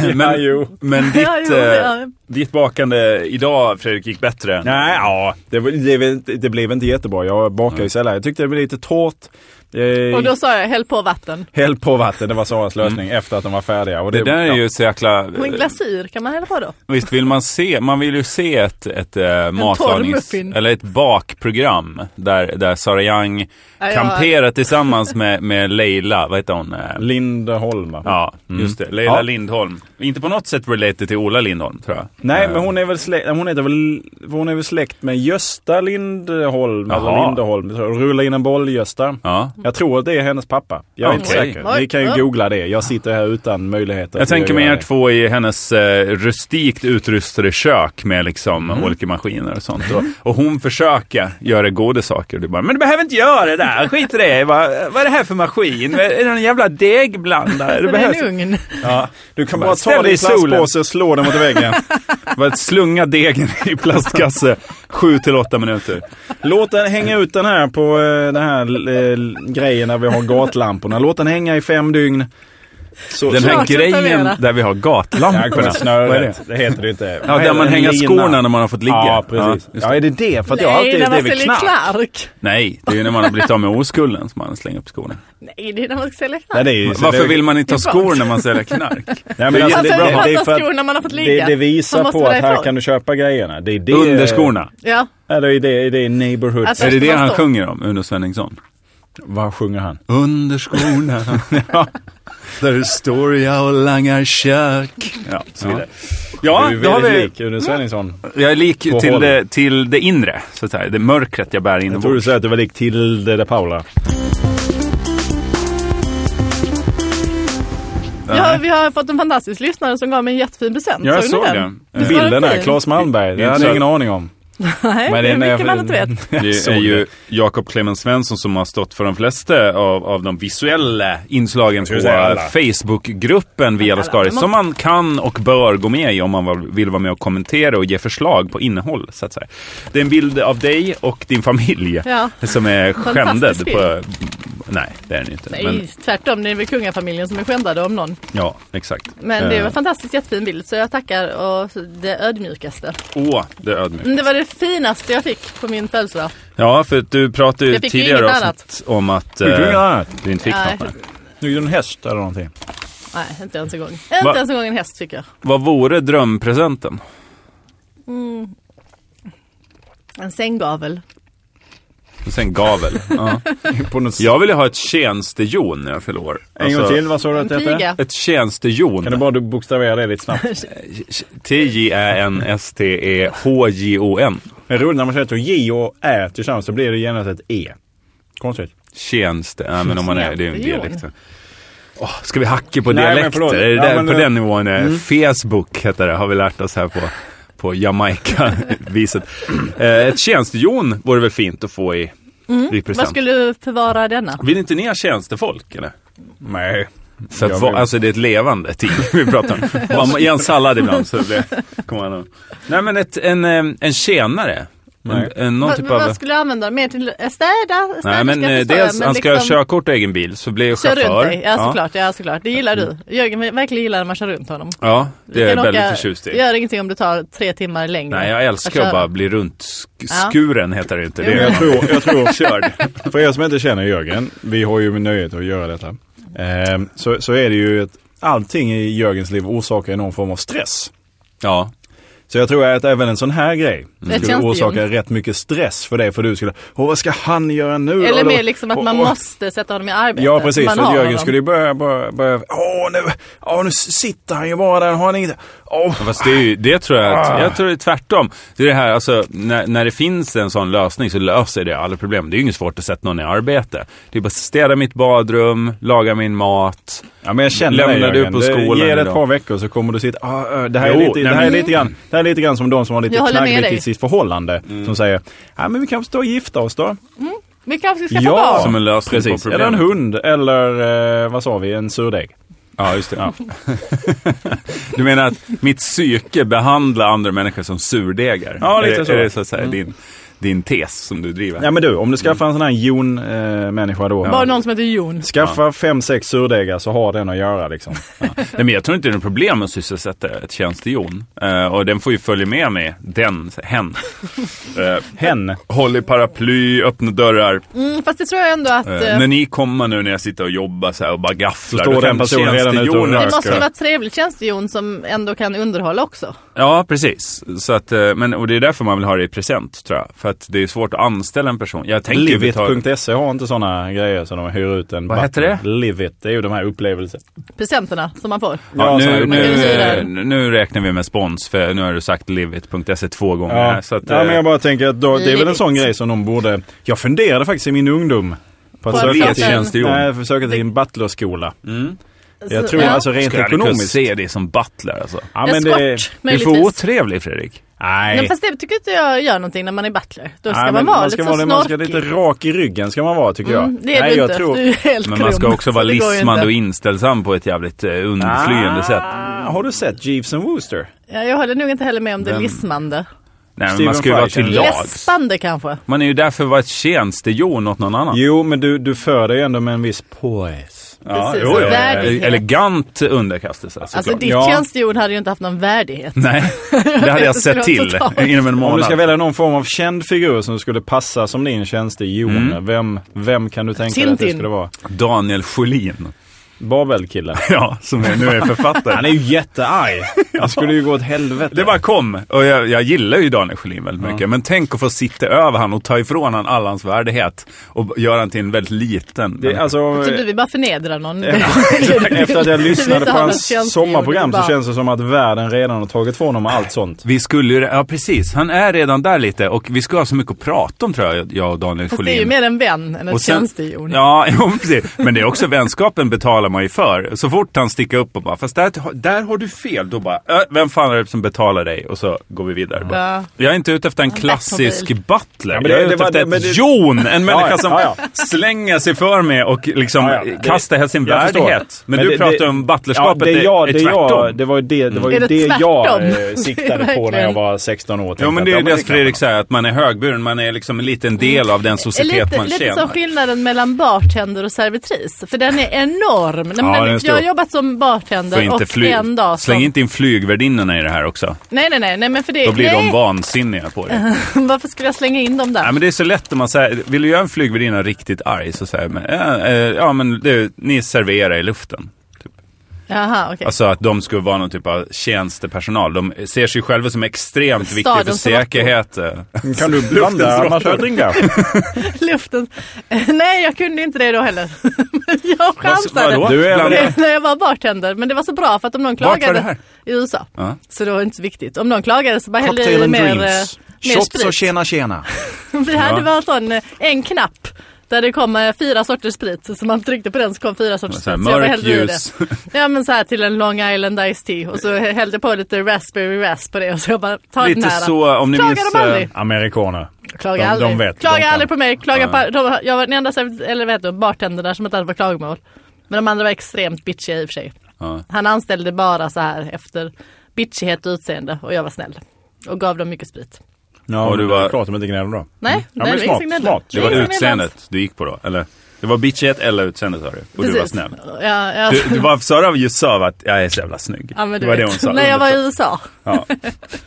Speaker 2: jo.
Speaker 3: [LAUGHS] Ja, jo.
Speaker 1: Men
Speaker 2: Ja,
Speaker 1: ditt,
Speaker 2: jo, ja.
Speaker 1: eh, ditt bakande idag Fredrik gick bättre.
Speaker 3: Nej, ja. Det, var- det, blev inte- det blev inte jättebra. Jag bakar ju sällan. Jag tyckte det blev lite torrt. Eh,
Speaker 2: Och då sa jag, häll på vatten.
Speaker 3: Häll på vatten, det var Saras lösning efter att de var färdiga. Och
Speaker 1: Mm. Det där är
Speaker 3: ja.
Speaker 1: ju så jäkla...
Speaker 2: Och en glasyr kan man hälla på då.
Speaker 1: Visst vill man se, man vill ju se ett, ett eh, matlagnings...
Speaker 2: muffin.
Speaker 1: Eller ett bakprogram där, där Sara Young
Speaker 2: Ja, jag-
Speaker 1: kamperar tillsammans med, med Leila, vad heter hon? Eh,
Speaker 2: Mm.
Speaker 3: Lindeholm. va?
Speaker 1: Ja, just det. Leila
Speaker 3: Ja.
Speaker 1: Lindholm. Inte på något sätt related till Ola Lindholm, tror jag.
Speaker 3: Nej,
Speaker 1: Eh,
Speaker 3: men hon är, väl släkt, hon, heter väl, hon är väl släkt med Gösta Lindholm. Eller
Speaker 1: Jaha.
Speaker 3: Lindeholm. tror jag. Rulla in en boll, Gösta.
Speaker 1: Ja.
Speaker 3: Jag tror att det är hennes pappa. Jag är inte
Speaker 1: Okej.
Speaker 3: säker. Ni kan ju
Speaker 2: Oj.
Speaker 3: googla det. Jag sitter här utan möjligheter.
Speaker 1: Jag
Speaker 3: till att
Speaker 1: tänker mig
Speaker 3: göra
Speaker 1: er
Speaker 3: det.
Speaker 1: två i hennes eh, rustikt utrustade kök med liksom
Speaker 3: Mm.
Speaker 1: olika maskiner och sånt. Och, och hon försöker göra goda saker. Och du bara, men du behöver inte göra det där. Skit i det. Vad, vad är det här för maskin? Är det en jävla degblandare? Du
Speaker 2: Det är en
Speaker 1: behöver...
Speaker 2: ugn.
Speaker 1: Ja.
Speaker 3: Du kan
Speaker 1: Bara
Speaker 3: bara
Speaker 1: ställ
Speaker 3: ta
Speaker 1: dig
Speaker 3: din
Speaker 1: i solen.
Speaker 3: plastpåse och slå den mot väggen.
Speaker 1: [LAUGHS] Bara att slunga degen i plastkasse sju till åtta minuter.
Speaker 3: Låt den hänga ut den här på eh, den här eh, grejen när vi har gatlamporna. Låt den hänga i fem dygn. Så,
Speaker 1: Den här
Speaker 2: Klart,
Speaker 1: grejen
Speaker 2: servera.
Speaker 1: där vi har
Speaker 3: Ja,
Speaker 1: gatlamporna. Vad är det?
Speaker 3: snöret. Det heter det inte.
Speaker 1: Ja,
Speaker 3: Vad
Speaker 1: där
Speaker 3: heter
Speaker 1: man
Speaker 3: det?
Speaker 1: hänger
Speaker 3: Lina.
Speaker 1: skorna när man har fått ligga.
Speaker 3: Ja, precis.
Speaker 1: Ja, just det.
Speaker 3: Ja, är det det? För att jag har
Speaker 2: Nej, när
Speaker 3: alltid det är
Speaker 2: man
Speaker 3: vid
Speaker 2: säljer
Speaker 3: knark.
Speaker 2: knark.
Speaker 1: Nej, det är ju när man har blivit av med oskulden som man slänger upp skorna.
Speaker 2: Nej, det är när man ska sälja knark.
Speaker 3: Nej, det är ju, så
Speaker 1: Varför
Speaker 3: det,
Speaker 1: vill man inte ha
Speaker 2: Det är bra.
Speaker 1: skor när man säljer knark?
Speaker 3: Nej, men alltså,
Speaker 2: Varför
Speaker 3: det, är
Speaker 2: vill
Speaker 3: bra.
Speaker 2: man
Speaker 3: det är
Speaker 2: ta
Speaker 3: för att
Speaker 2: skor när man har fått
Speaker 3: det,
Speaker 2: ligga?
Speaker 3: det
Speaker 2: Man
Speaker 3: visar
Speaker 2: måste
Speaker 3: på
Speaker 2: vara
Speaker 3: att här
Speaker 2: ifrån.
Speaker 3: kan du köpa grejerna. Det är det,
Speaker 1: Under skorna.
Speaker 2: Ja,
Speaker 3: Eller i det, i det neighborhood.
Speaker 2: Alltså-
Speaker 1: Är det det
Speaker 2: Man
Speaker 1: han
Speaker 2: står-
Speaker 1: sjunger om, Uno Svenningsson?
Speaker 3: Vad sjunger han?
Speaker 1: Under skorna, [LAUGHS] ja. där står jag och langar kök. Ja, så vidare. Ja,
Speaker 3: du är
Speaker 1: då har
Speaker 3: väldigt
Speaker 1: vi, Mm.
Speaker 3: lik Uno Svenningsson.
Speaker 1: jag är lik
Speaker 3: På
Speaker 1: till
Speaker 3: håll.
Speaker 1: det, till det inre, så att säga. Det mörkret jag bär
Speaker 3: Jag tror du
Speaker 1: [LAUGHS] inombords.
Speaker 3: säger att du var lik Tilde de Paula.
Speaker 2: vi har, vi har fått en fantastisk lyssnare som gav mig en jättefin present.
Speaker 1: Ja, jag
Speaker 2: ni
Speaker 1: såg den.
Speaker 2: Visst var
Speaker 3: Bilden där,
Speaker 2: fin?
Speaker 3: Claes Malmberg.
Speaker 1: Det
Speaker 3: Det
Speaker 1: är
Speaker 3: hade
Speaker 1: inte
Speaker 3: jag
Speaker 1: så-
Speaker 3: ingen aning om.
Speaker 2: [LAUGHS] Nej,
Speaker 3: Men
Speaker 2: det
Speaker 3: den
Speaker 2: är
Speaker 3: är
Speaker 2: mycket man
Speaker 3: väl-
Speaker 2: inte vet.
Speaker 1: Det
Speaker 3: såg
Speaker 1: är ju
Speaker 3: det.
Speaker 1: Jakob Clemens Svensson som har stått för de flesta av, av de visuella inslagen på
Speaker 3: skulle säga alla.
Speaker 1: Facebookgruppen Via
Speaker 2: Alla.
Speaker 1: Lascaris. Som man kan och bör gå med i om man var- vill vara med och kommentera och ge förslag på innehåll. Så att säga. Det är en bild av dig och din familj
Speaker 2: Ja.
Speaker 1: [LAUGHS] som är
Speaker 2: Fantastisk
Speaker 1: skändad.
Speaker 2: bild.
Speaker 1: På, nej, det är den ju inte.
Speaker 2: Nej,
Speaker 1: Men,
Speaker 2: tvärtom. Det är väl kungafamiljen som är skändade om någon.
Speaker 1: ja, exakt.
Speaker 2: Men det
Speaker 1: Eh,
Speaker 2: var en fantastiskt jättefin bild så jag tackar och det ödmjukaste.
Speaker 1: Åh, det är ödmjukt.
Speaker 2: Men Det var det finaste jag fick på min födelsedag.
Speaker 1: Ja, för att du pratade ju
Speaker 2: Jag fick ju
Speaker 1: tidigare
Speaker 2: inget
Speaker 1: avsnitt om att
Speaker 3: Fick du inget
Speaker 1: eh,
Speaker 3: annat?
Speaker 1: du inte fick
Speaker 2: Nej.
Speaker 1: något. nej.
Speaker 3: Nu är det en häst eller någonting.
Speaker 2: Nej, inte ens en gång. Inte
Speaker 1: Va?
Speaker 2: ens en gång en häst fick jag.
Speaker 1: Vad vore drömpresenten?
Speaker 2: En sänggavel.
Speaker 1: Och sen
Speaker 3: [LAUGHS]
Speaker 1: gavel. Ja.
Speaker 3: På något
Speaker 1: Jag vill ju ha ett tjänstehjon när jag fyller år. Alltså,
Speaker 3: En gång till, vad sa du att det
Speaker 2: en
Speaker 3: hette?
Speaker 2: piga.
Speaker 1: Ett tjänstehjon.
Speaker 3: Kan du bara bokstavera det lite snabbt?
Speaker 1: E T-J-Ä-N-S-T-E-H-J-O-N.
Speaker 3: Det är roligt när man sätter J och Ä tillsammans så blir det genast ett E. Konstigt.
Speaker 1: Tjänst. Ja, men om man är, det är en
Speaker 2: Tjänstehjon.
Speaker 1: dialekt. Åh, ska vi hacka på
Speaker 3: Nej, men
Speaker 1: dialekter?
Speaker 3: förlåt.
Speaker 1: Är det
Speaker 3: Ja,
Speaker 1: där,
Speaker 3: men
Speaker 1: på
Speaker 3: det-
Speaker 1: den nivån är Facebook heter det, har vi lärt oss här på, på Jamaica-viset. Eh, ett tjänstehjon vore väl fint att få i, i
Speaker 2: Vad
Speaker 1: present.
Speaker 2: skulle du förvara denna?
Speaker 1: Vill inte ni ha tjänstefolk eller?
Speaker 3: Nej.
Speaker 1: För
Speaker 3: Jag
Speaker 1: att, va,
Speaker 3: vill-
Speaker 1: alltså det är ett levande ting [LAUGHS] vi pratar om. Och man- I en sallad ibland så blir kommer man ihåg. Nej men ett, en, eh, en tjänare. En,
Speaker 3: Nej.
Speaker 1: en, någon
Speaker 2: Vad,
Speaker 1: typ
Speaker 2: vad
Speaker 1: av...
Speaker 2: skulle du använda den? Mer till eh, städa?
Speaker 1: Nej men eh, dels, han ska ha körkort och egen bil så blir jag
Speaker 2: liksom, Kör
Speaker 1: chaufför.
Speaker 2: runt dig, ja såklart, ja, såklart. det gillar du. Jörgen verkligen gillar när man kör runt honom.
Speaker 1: Ja, det
Speaker 2: Du
Speaker 1: är jag
Speaker 2: kan
Speaker 1: väldigt
Speaker 2: åka-
Speaker 1: förtjust
Speaker 2: Det
Speaker 1: i.
Speaker 2: gör ingenting om du tar tre timmar längre.
Speaker 1: Nej jag älskar att
Speaker 2: köra.
Speaker 1: bara bli runt sk-
Speaker 2: Ja.
Speaker 1: skuren heter det inte. Det
Speaker 2: Jo,
Speaker 1: är
Speaker 2: men-
Speaker 3: Jag tror, jag tror,
Speaker 1: körd.
Speaker 3: för er som inte känner Jörgen, vi har ju nöjet att göra detta. eh, så, så är det ju att allting i Jörgens liv orsakar någon form av stress.
Speaker 1: Ja.
Speaker 3: Så jag tror att även en sån här grej
Speaker 2: Mm. Det
Speaker 3: skulle
Speaker 2: känns det
Speaker 3: orsaka
Speaker 2: ju.
Speaker 3: rätt mycket stress för dig för du skulle, åh vad ska han göra nu?
Speaker 2: Eller
Speaker 3: Och då-
Speaker 2: mer liksom att
Speaker 3: och-
Speaker 2: man
Speaker 3: och-
Speaker 2: måste sätta honom i arbete.
Speaker 3: Ja precis,
Speaker 2: man
Speaker 3: för att
Speaker 2: har
Speaker 3: Jörgen
Speaker 2: honom.
Speaker 3: skulle ju börja, börja, börja åh nu, åh, nu sitter han ju bara där, har han inget, åh.
Speaker 1: Fast det, är ju, det tror jag, att, jag tror det är tvärtom. Det är det här, alltså, när, när det finns en sån lösning så löser det alla problem. Det är ju inget svårt att sätta någon i arbete. Det är bara att städa mitt badrum, laga min mat.
Speaker 3: Ja, men jag känner
Speaker 1: Lämnar
Speaker 3: dig,
Speaker 1: du
Speaker 3: Jörgen.
Speaker 1: på
Speaker 3: Det-
Speaker 1: skolan
Speaker 3: Ge det ett
Speaker 1: idag?
Speaker 3: par veckor så kommer du sitta, ah, ö, det, här
Speaker 1: Jo,
Speaker 3: är lite,
Speaker 1: nej,
Speaker 3: det, här är
Speaker 1: men-
Speaker 3: lite grann, det här är lite grann som de som har lite
Speaker 2: Jag håller med
Speaker 3: knaggligt
Speaker 2: dig.
Speaker 3: i sitt förhållande.
Speaker 1: Mm.
Speaker 3: Som säger, ja men vi kanske står och gifta oss då.
Speaker 2: Vi kanske ska skaffa
Speaker 3: Ja,
Speaker 1: Som
Speaker 2: barn.
Speaker 1: en lösning på
Speaker 3: Precis.
Speaker 1: problemet.
Speaker 3: Eller en hund, eller eh, vad sa vi, en surdeg.
Speaker 1: Ja, [LAUGHS] just det. du menar att mitt psyke behandlar andra människor som surdegar?
Speaker 3: Ja, lite
Speaker 1: är, det-
Speaker 3: så.
Speaker 1: Är det så att säga
Speaker 2: Mm.
Speaker 1: din, din tes som du driver?
Speaker 3: Ja men du, om du skaffar en sån här jon-människa då.
Speaker 2: Bara någon som heter Jon.
Speaker 3: Skaffa fem, sex surdegar så har den att göra liksom.
Speaker 2: [LAUGHS]
Speaker 1: Nej, men jag tror inte det är något problem att sysselsätta ett tjänstehjon. Eh, och den får ju följa med mig, den, hen. Eh,
Speaker 3: Hen.
Speaker 1: håll i paraply, öppna dörrar.
Speaker 2: Mm, fast det tror jag ändå att...
Speaker 1: Eh,
Speaker 2: eh,
Speaker 1: när ni kommer nu när jag sitter och jobbar så här och bara gafflar.
Speaker 3: Så står
Speaker 1: då
Speaker 3: den
Speaker 1: kan
Speaker 3: personen redan ute och
Speaker 1: tjänstehjonet-
Speaker 3: röker.
Speaker 2: det måste
Speaker 3: ska-
Speaker 2: ju vara ett trevligt tjänstejon som ändå kan underhålla också.
Speaker 1: Ja, precis. Så att, eh, men, och det är därför man vill ha det i present, tror jag. För att det är svårt att anställa en person. Jag tänker ju betala-
Speaker 3: Livit.se E har inte sådana grejer som de hyr ut en
Speaker 1: Vad
Speaker 3: button.
Speaker 1: heter det?
Speaker 3: Livit, det är ju de här upplevelserna.
Speaker 2: Presenterna som man får.
Speaker 1: Ja,
Speaker 3: Ja, så
Speaker 1: nu,
Speaker 3: är det.
Speaker 2: Kan du säga
Speaker 1: nu,
Speaker 2: det?
Speaker 1: nu räknar vi med spons för nu har du sagt livit.se E två gånger. här,
Speaker 3: Ja.
Speaker 1: Så att, eh,
Speaker 3: ja, men jag bara tänker att då, det är väl en
Speaker 2: Livit.
Speaker 3: sån grej som de borde... Jag funderade faktiskt i min ungdom på
Speaker 2: På
Speaker 3: att
Speaker 2: att
Speaker 3: söka
Speaker 2: starta
Speaker 3: till,
Speaker 2: en-
Speaker 1: Tjänstehjon.
Speaker 3: nej, försöka till en butlerskola. Jag
Speaker 2: Så-
Speaker 3: tror
Speaker 2: Mm. ja.
Speaker 3: alltså
Speaker 1: eh,
Speaker 3: rent
Speaker 1: skulle aldrig kunna
Speaker 3: ekonomiskt.
Speaker 1: se dig som butler alltså.
Speaker 3: Ja,
Speaker 2: Eskort,
Speaker 1: Du får
Speaker 2: möjligtvis.
Speaker 1: otrevlig Fredrik.
Speaker 2: Nej,
Speaker 3: Nej.
Speaker 2: fast det tycker inte jag gör någonting när man är butler. Då ska
Speaker 3: Nej,
Speaker 2: man
Speaker 3: men
Speaker 2: vara
Speaker 3: ska
Speaker 2: lite
Speaker 3: vara
Speaker 2: så
Speaker 3: det- man ska
Speaker 2: snorkig.
Speaker 3: lite rak i ryggen ska man vara tycker jag.
Speaker 2: Mm, det är
Speaker 3: Nej,
Speaker 2: du
Speaker 3: jag
Speaker 2: inte.
Speaker 3: Tror...
Speaker 2: Du är helt
Speaker 1: Men man ska
Speaker 2: krum,
Speaker 1: också
Speaker 2: så
Speaker 1: vara
Speaker 2: det går ju
Speaker 1: lismande
Speaker 2: inte.
Speaker 1: och inställsam på ett jävligt eh, undflyende sätt.
Speaker 3: Ah, har du sett Jeeves and Wooster?
Speaker 2: Ja, jag håller nog inte heller med om det
Speaker 1: Vem?
Speaker 2: lismande.
Speaker 1: Nej, men
Speaker 3: Stephen
Speaker 1: man ska ju vara
Speaker 3: Fry
Speaker 1: till
Speaker 3: känner jag.
Speaker 1: lags.
Speaker 2: Läspande kanske.
Speaker 1: Man är ju där för att vara ett tjänstehjon åt någon annan.
Speaker 3: Jo, men du, du för dig ändå med en viss poise.
Speaker 2: precis.
Speaker 1: jo, jo.
Speaker 2: Värdighet.
Speaker 1: Elegant underkastelse
Speaker 2: Alltså
Speaker 1: såklart.
Speaker 2: ditt
Speaker 3: Ja.
Speaker 2: tjänstehjon hade ju inte haft någon värdighet. [LAUGHS]
Speaker 1: Nej, det hade jag
Speaker 2: Det skulle
Speaker 1: sett
Speaker 2: vara
Speaker 1: till [LAUGHS]
Speaker 2: totalt.
Speaker 1: inom en
Speaker 3: Om du
Speaker 1: månad.
Speaker 3: ska välja någon form av känd figur som skulle passa som din tjänstehjon,
Speaker 1: Mm.
Speaker 3: vem, vem kan du tänka dig att det
Speaker 2: Tintin.
Speaker 3: skulle vara?
Speaker 1: Daniel Sjölin.
Speaker 3: Babelkillen.
Speaker 1: Ja, som är- nu är författare.
Speaker 3: Han är ju [LAUGHS] jättearg. Han skulle ju gå åt helvete.
Speaker 1: Det bara kom. Och jag, jag gillar ju Daniel Sjölin väldigt mycket. Men tänk att få sitta över han och ta ifrån han all hans värdighet. Och göra han till en väldigt liten.
Speaker 3: Det,
Speaker 1: människa.
Speaker 3: alltså,
Speaker 2: Så du vill bara förnedra någon.
Speaker 3: [LAUGHS] efter att jag lyssnade
Speaker 2: inte
Speaker 3: på
Speaker 2: ha något
Speaker 3: hans
Speaker 2: tjänstehjon,
Speaker 3: sommarprogram
Speaker 2: bara-
Speaker 3: så känns det som att världen redan har tagit från honom allt sånt.
Speaker 1: vi skulle ju, ja precis. Han är redan där lite. Och vi ska ha så mycket att prata om tror jag, jag och Daniel
Speaker 2: Fast
Speaker 1: Sjölin.
Speaker 2: det är ju mer en vän än ett tjänstehjon.
Speaker 1: Ja, [LAUGHS] jo, precis. Men det är också vänskapen betalar man ju för. Så fort han sticker upp och bara, fast där, där har du fel. Då bara, "Äh, vem fan är det som betalar dig? Och så går vi vidare.
Speaker 2: Ja.
Speaker 1: Jag är inte ute efter en klassisk
Speaker 2: Batmobil.
Speaker 1: butler.
Speaker 3: men det-
Speaker 1: jag är
Speaker 3: det
Speaker 1: ute
Speaker 3: var-
Speaker 1: efter
Speaker 3: men
Speaker 1: ett
Speaker 3: det-
Speaker 1: jon. En människa
Speaker 3: ja,
Speaker 1: som
Speaker 3: ja,
Speaker 1: slänger sig för mig och liksom
Speaker 3: Ja, ja. Det-
Speaker 1: kastar hela sin
Speaker 3: jag förstår.
Speaker 1: värdighet. Men,
Speaker 3: Men
Speaker 1: du
Speaker 3: det-
Speaker 1: pratar
Speaker 3: det-
Speaker 1: om butlerskapet,
Speaker 3: det, jag,
Speaker 1: är,
Speaker 3: det,
Speaker 1: tvärtom.
Speaker 3: jag, det var ju det, det, var ju
Speaker 2: Mm. Är [LAUGHS]
Speaker 3: det,
Speaker 2: det
Speaker 3: jag
Speaker 2: tvärtom?
Speaker 3: eh, siktade
Speaker 2: Det är
Speaker 3: på när jag
Speaker 2: verkligen-
Speaker 3: var 16 år.
Speaker 1: Jo,
Speaker 3: tänkte
Speaker 1: men
Speaker 3: att,
Speaker 1: det är
Speaker 3: ja,
Speaker 1: ju det
Speaker 3: kan man
Speaker 1: Fredrik säger, att man är högburen, man är liksom en liten del av den
Speaker 2: Är
Speaker 1: societet
Speaker 2: Lite,
Speaker 1: man
Speaker 2: lite
Speaker 1: tjänar.
Speaker 2: som skillnaden mellan bartender och servitris. För den är enorm. Nej, men
Speaker 3: Ja, den är
Speaker 2: den,
Speaker 3: stor.
Speaker 2: jag har jobbat som
Speaker 1: Får
Speaker 2: bartender
Speaker 1: inte
Speaker 2: och
Speaker 1: fly-
Speaker 2: en dag som...
Speaker 1: Släng inte in flygvärdinnorna i det här också.
Speaker 2: Nej, nej, nej, nej, men för det...
Speaker 1: Då blir
Speaker 2: nej.
Speaker 1: de vansinniga på det.
Speaker 2: [LAUGHS] Varför skulle jag slänga in dem
Speaker 1: Ja,
Speaker 2: där?
Speaker 1: men det är så lätt när man säger, vill du göra en flygvärdinna riktigt arg så säger man, "Ja, eh, ja men du, ni serverar i luften. Typ.
Speaker 2: Jaha, okej.
Speaker 1: Alltså att de skulle vara någon typ av tjänstepersonal. De ser sig själva som extremt viktiga för
Speaker 2: Stadens
Speaker 1: säkerhet.
Speaker 3: Kan du blanda annars ödringar?
Speaker 2: Luften. [LAUGHS] Nej, jag kunde inte det då heller. [LAUGHS] Men jag chansade. [LAUGHS]
Speaker 1: vadå?
Speaker 3: Du är
Speaker 1: Bland-
Speaker 3: väl-
Speaker 2: Det- När jag var bartender. Men det var så bra för att om någon
Speaker 1: var
Speaker 2: klagade
Speaker 1: det här?
Speaker 2: i USA.
Speaker 1: Ja.
Speaker 2: Så det var inte så viktigt. Om någon klagade så bara hällde jag
Speaker 3: Cocktail
Speaker 2: i
Speaker 3: and
Speaker 2: mer, eh,
Speaker 3: drinks.
Speaker 2: mer
Speaker 3: Shots och
Speaker 2: sprit.
Speaker 3: tjena tjena.
Speaker 2: [LAUGHS] Vi hade bara en sån, eh, en knapp. Där det kom eh, fyra sorters sprit. Så man tryckte på den så kom fyra sorters
Speaker 1: Så här,
Speaker 2: sprit. Så jag bara
Speaker 1: mörk,
Speaker 2: hällde i
Speaker 1: ljus.
Speaker 2: det.
Speaker 1: [LAUGHS]
Speaker 2: Ja men så här till en Long Island Iced Tea. Och så hällde jag på lite Raspberry Rasp på det. Och så jag bara, ta den
Speaker 1: Lite
Speaker 2: här.
Speaker 1: så, om ni
Speaker 2: Klagar
Speaker 1: minns...
Speaker 2: de
Speaker 1: eh,
Speaker 2: aldrig?
Speaker 3: Amerikaner.
Speaker 2: Klaga
Speaker 3: De- de
Speaker 2: aldrig.
Speaker 3: vet,
Speaker 2: klaga
Speaker 3: de kan.
Speaker 2: aldrig på mig. Klaga på, de, jag var den enda serv- eller vet du, bartender där som inte hade fått klagomål. Men de andra var extremt bitchiga i och för sig.
Speaker 1: Ja.
Speaker 2: Han anställde bara så här efter bitchighet och utseende och jag var snäll. Och gav dem mycket sprit.
Speaker 3: Ja,
Speaker 1: Och du
Speaker 3: det
Speaker 1: var-
Speaker 3: är klart de inte gnäller då.
Speaker 1: Mm.
Speaker 2: Nej,
Speaker 3: Ja,
Speaker 2: nej,
Speaker 3: men
Speaker 2: det är
Speaker 3: smart,
Speaker 2: ingen som
Speaker 3: smart.
Speaker 1: Det
Speaker 2: gnäller.
Speaker 1: var
Speaker 2: Ingen som gnäller.
Speaker 1: utseendet du gick på då, eller? Det var bitchighet eller utseendet sa du. Och du var
Speaker 2: Precis.
Speaker 1: snäll.
Speaker 2: Ja, ja.
Speaker 1: Du, du var, sa du just sa att jag är så jävla snygg?
Speaker 2: ja, men du
Speaker 1: det var
Speaker 2: vet.
Speaker 1: det hon sa.
Speaker 2: När jag var i USA.
Speaker 1: Ja.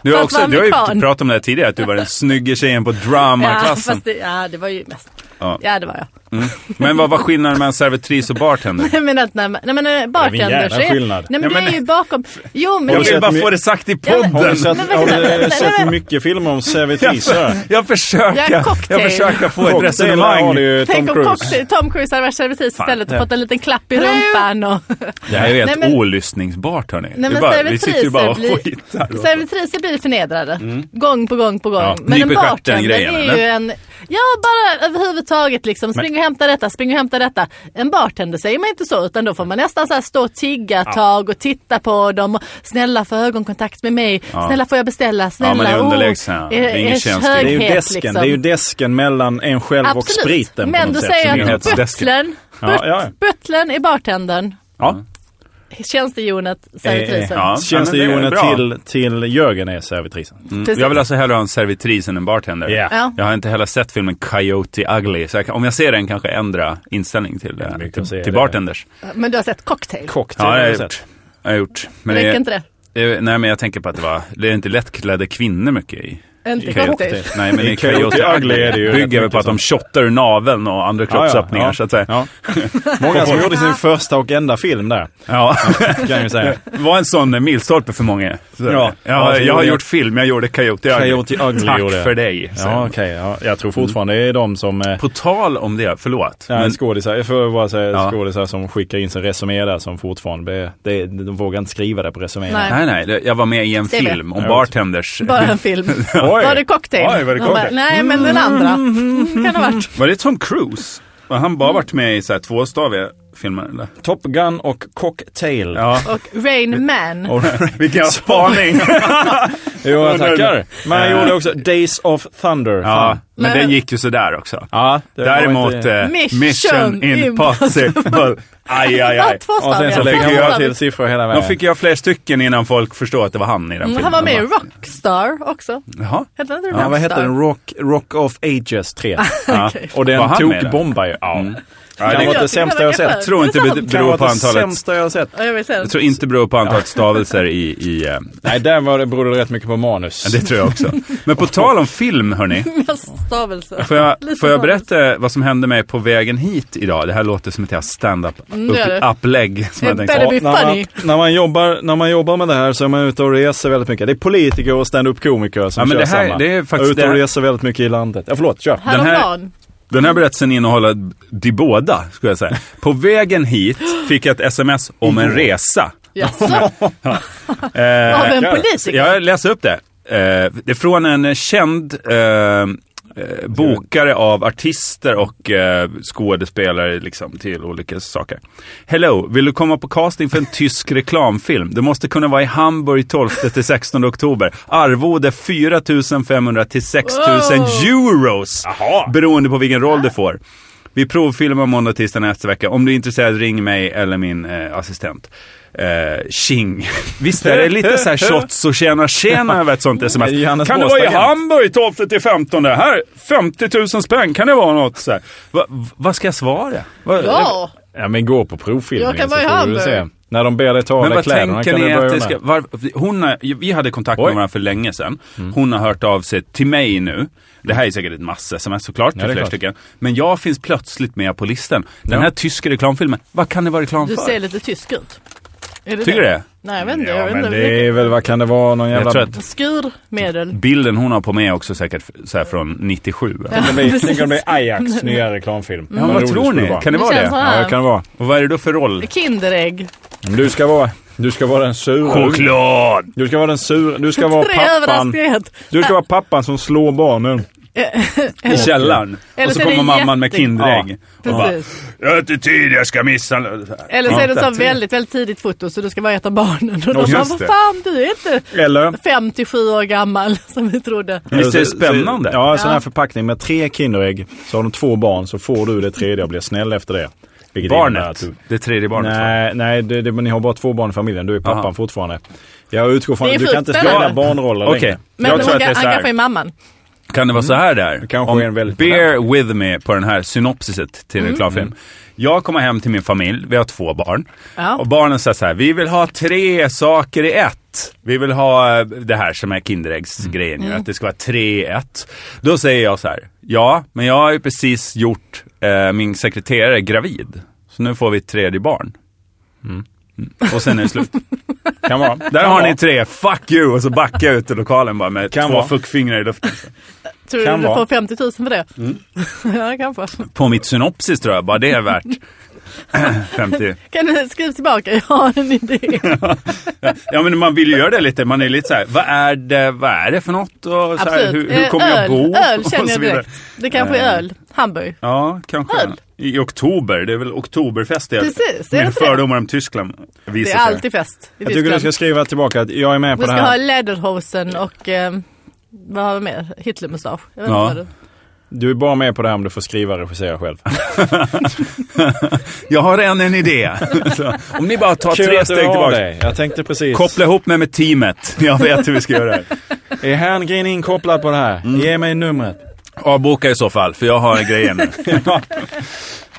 Speaker 1: Du, har
Speaker 2: Fast
Speaker 1: också,
Speaker 2: var
Speaker 1: du har ju
Speaker 2: amerikan.
Speaker 1: pratat om det här tidigare, att du var den snygga tjejen på
Speaker 2: Ja,
Speaker 1: dramaklassen.
Speaker 2: fast det, ja, det var ju mest.
Speaker 1: Ja.
Speaker 2: Ja, det var jag. [LAUGHS]
Speaker 1: Men vad var skillnaden mellan servitris och bartender?
Speaker 2: Nej men att när man, nej men eh,
Speaker 3: Det är
Speaker 2: bartender
Speaker 3: väl
Speaker 2: så
Speaker 3: en jävla
Speaker 2: är,
Speaker 3: skillnad.
Speaker 2: nej men
Speaker 1: Ja,
Speaker 2: det är
Speaker 1: men-
Speaker 2: ju bakom, jo men
Speaker 1: Jag
Speaker 2: det
Speaker 1: vill
Speaker 2: är ju,
Speaker 1: bara få det sagt i
Speaker 3: Har
Speaker 1: podden.
Speaker 3: du sett,
Speaker 2: Men vad-
Speaker 3: har
Speaker 2: nej,
Speaker 3: du
Speaker 2: nej,
Speaker 3: sett
Speaker 2: nej.
Speaker 3: mycket filmer om
Speaker 1: Jag,
Speaker 3: servitriser?
Speaker 1: för, jag, försöker,
Speaker 2: Ja,
Speaker 1: jag
Speaker 2: cocktail.
Speaker 1: försöker få ett
Speaker 3: Cocktail har
Speaker 1: resonemang.
Speaker 3: du ju Tom
Speaker 2: tänk om
Speaker 3: Cruise.
Speaker 2: cocktail, Tom Cruise hade varit servitris istället och
Speaker 1: det-
Speaker 2: fått en liten klapp i rumpan och
Speaker 1: Det här är ju helt
Speaker 2: Nej, men-
Speaker 1: olyssningsbart hörni.
Speaker 2: men
Speaker 1: vi, bara, vi
Speaker 2: servitriser
Speaker 1: sitter ju bara och
Speaker 2: blir-
Speaker 1: skitar. åt dem.
Speaker 2: Servitriser blir förnedrade. Gång på gång på gång.
Speaker 1: Ja,
Speaker 2: Men en
Speaker 1: nyp i stjärten
Speaker 2: bartender
Speaker 1: grejen,
Speaker 2: det är ju
Speaker 1: eller?
Speaker 2: en... Ja, bara överhuvudtaget liksom. Spring och hämta detta, spring och hämta detta. En bartender säger man inte så utan då får man nästan så här stå och tigga ett tag och titta på dem. Och, snälla få ögonkontakt med mig. Snälla får jag beställa? Snälla.
Speaker 1: men det är
Speaker 2: oh,
Speaker 1: underlägsen. Det är ingen
Speaker 2: ers
Speaker 1: tjänst. Det är
Speaker 3: Det är ju
Speaker 2: höghet,
Speaker 3: desken,
Speaker 2: liksom.
Speaker 3: det är ju desken mellan en själv och
Speaker 2: Absolut.
Speaker 3: spriten på
Speaker 2: Men
Speaker 3: något
Speaker 2: du
Speaker 3: sätt. som
Speaker 2: säger
Speaker 3: är
Speaker 2: att
Speaker 3: helt-
Speaker 2: butlern,
Speaker 3: Ja, ja, ja.
Speaker 2: but- butlern är bartendern.
Speaker 1: Ja.
Speaker 2: Tjänstehjonet,
Speaker 3: Eh,
Speaker 2: servitrisen.
Speaker 1: ja.
Speaker 3: Tjänstehjonen
Speaker 1: Ja, men det är
Speaker 3: till, till Jörgen är servitrisen.
Speaker 2: Precis.
Speaker 1: Jag vill alltså hellre ha en servitris än en bartender.
Speaker 3: Ja.
Speaker 2: Ja.
Speaker 1: Jag har inte heller sett filmen Coyote Ugly, så jag kan, om jag ser den kanske ändra inställning till, eh,
Speaker 3: mycket att se
Speaker 1: till, till
Speaker 3: det.
Speaker 1: bartenders.
Speaker 2: Men du har sett cocktail?
Speaker 1: Ja,
Speaker 3: Cocktail
Speaker 1: det
Speaker 3: har
Speaker 1: har
Speaker 3: jag
Speaker 1: jag
Speaker 3: sett.
Speaker 1: gjort. Jag har gjort. Men
Speaker 2: Räcker
Speaker 1: det-
Speaker 2: inte det?
Speaker 1: det? Nej, men jag tänker på att det var, det är inte lättklädda kvinnor mycket i.
Speaker 2: Inte
Speaker 1: Coyote.
Speaker 2: cocktail.
Speaker 1: Nej, men
Speaker 3: I
Speaker 1: i Coyote Ugly är det ju bygger väl
Speaker 3: rätt
Speaker 1: på att de
Speaker 3: mycket
Speaker 1: shottar ur naveln och andra kroppsöppningar
Speaker 3: ja.
Speaker 1: så att säga. Ja. [LAUGHS]
Speaker 3: Ja. Många som gjorde sin första och enda film där, kan jag ju säga.
Speaker 1: Det [LAUGHS] var en sån eh, milstolpe för många. Så,
Speaker 3: Ja.
Speaker 1: ja. Jag,
Speaker 3: Ja, så
Speaker 1: jag har
Speaker 3: gjorde jag-
Speaker 1: gjort film, jag gjorde Coyote Ugly.
Speaker 3: Coyote Ugly
Speaker 1: Tack
Speaker 3: gjorde jag.
Speaker 1: för dig. Så.
Speaker 3: Ja, okej. ja. Jag tror fortfarande det är de som... Eh,
Speaker 1: På tal om det, förlåt.
Speaker 3: Ja,
Speaker 1: men,
Speaker 3: skådisar, jag får bara säga
Speaker 1: Ja.
Speaker 3: skådisar som skickar in sin resumé där som fortfarande, är- det, de vågar inte skriva det på resumén.
Speaker 2: Nej.
Speaker 1: nej, nej, det- jag var med i en
Speaker 2: Ser vi.
Speaker 1: film om
Speaker 3: Ja.
Speaker 1: bartenders.
Speaker 2: Bara en film.
Speaker 3: Oj.
Speaker 2: Var det cocktail?
Speaker 1: Oj, var det
Speaker 2: De bara,
Speaker 1: cocktail?
Speaker 2: Nej, men den andra. Mm, kan ha varit.
Speaker 1: Var det Tom Cruise? Har han bara varit med i så här tvåstaviga filmer eller?
Speaker 3: Top Gun och Cocktail.
Speaker 1: Ja.
Speaker 2: Och Rain Man.
Speaker 1: [LAUGHS] Vilken spaning!
Speaker 3: Jo, jag tackar. Eh. Men jag gjorde också Days of Thunder.
Speaker 1: ja, men
Speaker 2: Nej.
Speaker 1: den gick ju sådär också.
Speaker 3: ja det var
Speaker 1: Däremot
Speaker 3: inte-
Speaker 1: eh,
Speaker 2: Mission
Speaker 1: Mission, Impossible. aj, aj,
Speaker 2: Ja,
Speaker 1: aj.
Speaker 2: två
Speaker 3: Och sen så
Speaker 2: staviga.
Speaker 3: lägger
Speaker 1: fick
Speaker 3: jag
Speaker 1: jag
Speaker 3: till siffror hela
Speaker 1: Då
Speaker 3: vägen.
Speaker 1: fick jag fler stycken innan folk förstod att det var han i den
Speaker 2: Mm,
Speaker 1: filmen.
Speaker 2: Han var med i
Speaker 1: Jag
Speaker 2: Rockstar också.
Speaker 1: bara, Jaha.
Speaker 2: Hette han inte
Speaker 3: Ja,
Speaker 2: Rockstar?
Speaker 3: vad hette den? Rock, Rock of
Speaker 2: [LAUGHS]
Speaker 3: Ages 3.
Speaker 1: Ja.
Speaker 3: Och
Speaker 1: Var
Speaker 3: den
Speaker 1: han med
Speaker 3: tog
Speaker 1: där?
Speaker 3: bombar ju. Ja.
Speaker 1: Ja,
Speaker 3: Kan
Speaker 1: det,
Speaker 3: vara
Speaker 1: jag
Speaker 3: det sämsta jag
Speaker 2: verkar
Speaker 3: sett.
Speaker 2: skönt.
Speaker 1: tror inte
Speaker 2: Är
Speaker 1: det
Speaker 2: det sant?
Speaker 3: Mm. Kan
Speaker 1: beror på
Speaker 3: vara det
Speaker 1: antalet.
Speaker 3: sämsta jag har sett.
Speaker 2: Ja, jag vill se den.
Speaker 1: Jag tror inte det beror på antalet stavelser i... i eh,
Speaker 3: Nej, där var det, berodde det rätt mycket på manus.
Speaker 1: det tror jag [LAUGHS] också. Men på tal om film, hörni.
Speaker 2: Mest stavelse.
Speaker 1: Får jag,
Speaker 2: Lite
Speaker 1: får jag
Speaker 2: stavelse.
Speaker 1: berätta vad som hände mig på vägen hit idag? Det här låter som ett jävla stand-up
Speaker 2: Mm, det gör det.
Speaker 1: upp- upplägg. Som jag
Speaker 2: Det är
Speaker 1: tänkte.
Speaker 2: better be
Speaker 3: Ja, när,
Speaker 2: funny.
Speaker 3: man, när, man jobbar, när man jobbar med det här så är man ute och reser väldigt mycket. Det är politiker och stand-up-komiker som
Speaker 1: Ja, men
Speaker 3: kör
Speaker 1: det här-
Speaker 3: samma.
Speaker 1: det är faktiskt
Speaker 3: ute och
Speaker 1: det här-
Speaker 3: reser väldigt mycket i landet. Ja, förlåt, kör.
Speaker 1: här-
Speaker 2: Häromdagen.
Speaker 1: Den här berättelsen innehåller de båda, skulle jag säga. På vägen hit fick jag ett sms om
Speaker 2: Mm.
Speaker 1: en resa.
Speaker 2: Jaså?
Speaker 1: Eh,
Speaker 2: Av en
Speaker 1: jag-
Speaker 2: politiker?
Speaker 1: Jag läser upp det. Eh, det är från en eh, känd eh, eh, bokare av artister och eh, skådespelare liksom, till olika saker. Hello, vill du komma på casting för en tysk [LAUGHS] reklamfilm? Du måste kunna vara i Hamburg 12 till 16 oktober. Arvode 4 500 till 6 000 euros. Beroende på vilken roll du får. Vi provfilmar måndag, tisdag nästa vecka. Om du är intresserad, ring mig eller min eh, assistent. Eh, tjing. Visst är det lite så här shots och tjena tjena över ett sånt sms.
Speaker 3: Johannes
Speaker 1: kan det
Speaker 3: Bås
Speaker 1: vara i
Speaker 3: agent?
Speaker 1: Hamburg 12 till 15? Här, 50 000 spänn, kan det vara något? Så här. Va, va- vad ska jag svara? Va,
Speaker 2: Ja.
Speaker 3: Ja, men gå på provfilmning
Speaker 2: Jag kan vara i
Speaker 3: så får du
Speaker 2: Hamburg.
Speaker 3: väl se. När de ber dig ta av
Speaker 1: Men
Speaker 3: dig
Speaker 1: vad
Speaker 3: kläderna
Speaker 1: tänker
Speaker 3: kan
Speaker 1: ni
Speaker 3: du börja
Speaker 1: att det
Speaker 3: med.
Speaker 1: ska... Var, hon har, vi hade kontakt med
Speaker 3: Oj. Mm.
Speaker 1: varandra för länge sedan. Hon har hört av sig till mig nu. Det här är säkert ett massa sms såklart,
Speaker 3: det
Speaker 1: till
Speaker 3: är
Speaker 1: flera
Speaker 3: klart.
Speaker 1: stycken. Men jag finns plötsligt med på listan. Den
Speaker 3: Ja.
Speaker 1: här tyska reklamfilmen, vad kan det vara reklam
Speaker 2: Du
Speaker 1: för?
Speaker 2: ser lite tysk ut. Är det
Speaker 1: Tycker du det?
Speaker 2: Nej, jag vet inte.
Speaker 1: Ja,
Speaker 2: Jag vet
Speaker 1: men
Speaker 2: inte.
Speaker 3: Det är väl, vad kan det vara, någon jävla...
Speaker 1: Jag tror att
Speaker 2: Skurmedel.
Speaker 1: bilden hon har på mig är också säkert så här från 97. eller?
Speaker 3: det blir, tänk om det är Ajax nya reklamfilm.
Speaker 1: Ja, vad
Speaker 3: roligt
Speaker 1: tror
Speaker 3: skulle
Speaker 1: ni?
Speaker 3: vara.
Speaker 1: Kan det
Speaker 2: Det
Speaker 1: vara
Speaker 2: känns
Speaker 1: det?
Speaker 2: som-
Speaker 3: Ja, det kan det vara.
Speaker 1: Och vad är det då för roll?
Speaker 2: Kinderägg.
Speaker 3: Du ska vara, du ska vara den sura.
Speaker 1: Choklad!
Speaker 3: Du ska vara den sura, du ska vara
Speaker 2: Tre
Speaker 3: pappan.
Speaker 2: överraskningar.
Speaker 3: Du ska vara pappan som slår barnen.
Speaker 1: I källaren.
Speaker 2: Eller
Speaker 1: Och så
Speaker 2: så är det
Speaker 1: kommer mamman med
Speaker 2: jätte-
Speaker 1: Kinderägg. Och bara,
Speaker 2: Precis.
Speaker 1: jag har inte tid, jag ska misshandla.
Speaker 2: [LAUGHS] Eller så är det
Speaker 1: Ja.
Speaker 2: så väldigt, väldigt tidigt foto så du ska vara ett av barnen. Och de
Speaker 1: just
Speaker 2: bara, vad
Speaker 1: det.
Speaker 2: fan du är inte
Speaker 3: Eller?
Speaker 2: 57 år gammal [LAUGHS] som vi trodde.
Speaker 1: Visst är det
Speaker 3: Så-
Speaker 1: spännande?
Speaker 3: Så, ja, en sån här förpackning med tre Kinderägg. Så har de två barn så får du det tredje och blir snäll efter det. Vilket innebär att
Speaker 1: Barnet.
Speaker 3: du-
Speaker 1: Det tredje barnet.
Speaker 3: Nej, nej det, det, men ni har bara två barn i familjen. Du är pappan
Speaker 1: Aha.
Speaker 3: fortfarande. Jag utgår från
Speaker 2: Det är
Speaker 3: att du kan inte
Speaker 2: frukten,
Speaker 3: spela
Speaker 2: eller?
Speaker 3: barnroller
Speaker 1: Okej.
Speaker 3: längre.
Speaker 2: Men
Speaker 1: jag
Speaker 2: hon
Speaker 1: tror att det
Speaker 2: kan,
Speaker 1: är
Speaker 2: han
Speaker 1: så
Speaker 2: kanske
Speaker 1: här.
Speaker 2: är mamman.
Speaker 1: Kan det vara så här
Speaker 3: Mm.
Speaker 1: där?
Speaker 3: kanske
Speaker 1: Om
Speaker 3: är en väldigt- Mm.
Speaker 1: bear with me på den här synopsiset till reklamfilm. Jag kommer hem till min familj, vi har två barn.
Speaker 2: Ja.
Speaker 1: Och barnen säger så här, vi vill ha tre saker i ett. 1. Vi vill ha eh, det här som är
Speaker 3: Mm.
Speaker 1: Kinderäggsgrejen ju, att det ska vara 3-1. Då säger jag så här, ja, men jag har ju precis gjort eh, min sekreterare gravid. Så nu får vi ett tredje barn. Mm. Och sen är det slut.
Speaker 3: Kan vara.
Speaker 1: Där har ni tre, fuck you! Och så backar jag ut ur lokalen bara med
Speaker 3: Kan
Speaker 1: två
Speaker 3: vara.
Speaker 1: fuckfingrar i luften.
Speaker 2: Tror du
Speaker 3: Kan
Speaker 2: du
Speaker 3: vara.
Speaker 2: får 50 000 för det?
Speaker 1: Mm.
Speaker 2: [LAUGHS] ja, kanske.
Speaker 1: På mitt synopsis tror jag, bara det är värt [LAUGHS] 50.
Speaker 2: Kan du skriva tillbaka? Jag har
Speaker 1: [LAUGHS]
Speaker 2: en idé.
Speaker 1: Ja men man vill ju göra det lite, man är lite så här, vad är det, vad är det för något? Och så här,
Speaker 2: Absolut.
Speaker 1: hur, hur
Speaker 2: Eh,
Speaker 1: kommer
Speaker 2: öl.
Speaker 1: jag bo?
Speaker 2: Öl
Speaker 1: [LAUGHS] Och
Speaker 2: känner
Speaker 1: så
Speaker 2: jag
Speaker 1: vidare. Eh,
Speaker 2: direkt. Det kanske är öl. Hamburg.
Speaker 1: Ja, kanske.
Speaker 2: Öl.
Speaker 1: I oktober, det är väl oktoberfest. Det
Speaker 2: Precis, är det
Speaker 1: Mina
Speaker 2: inte det?
Speaker 1: fördomar om Tyskland
Speaker 2: Det
Speaker 1: visar
Speaker 2: är alltid fest i
Speaker 3: Jag tycker du
Speaker 2: Tyskland.
Speaker 3: ska skriva tillbaka att jag är med på
Speaker 2: Vi
Speaker 3: det
Speaker 2: ska ha
Speaker 3: här.
Speaker 2: Lederhosen och eh, vad har vi mer? Hitlermustasch. Jag vet
Speaker 1: Ja.
Speaker 2: inte vad det-
Speaker 3: Du är bara med på det här om du får skriva och regissera själv.
Speaker 1: Jag har än en idé. [LAUGHS] Så, om ni bara tar
Speaker 3: Kul
Speaker 1: tre
Speaker 3: att du
Speaker 1: steg
Speaker 3: har
Speaker 1: tillbaka.
Speaker 3: dig. Jag tänkte precis.
Speaker 1: Koppla ihop mig med teamet. [LAUGHS] Jag vet hur vi ska göra det
Speaker 3: [LAUGHS]
Speaker 1: här.
Speaker 3: Är Herngren inkopplad på det här? Ge mig numret.
Speaker 1: Avboka i så fall, för jag har grejen
Speaker 3: [LAUGHS]
Speaker 1: nu. Eh,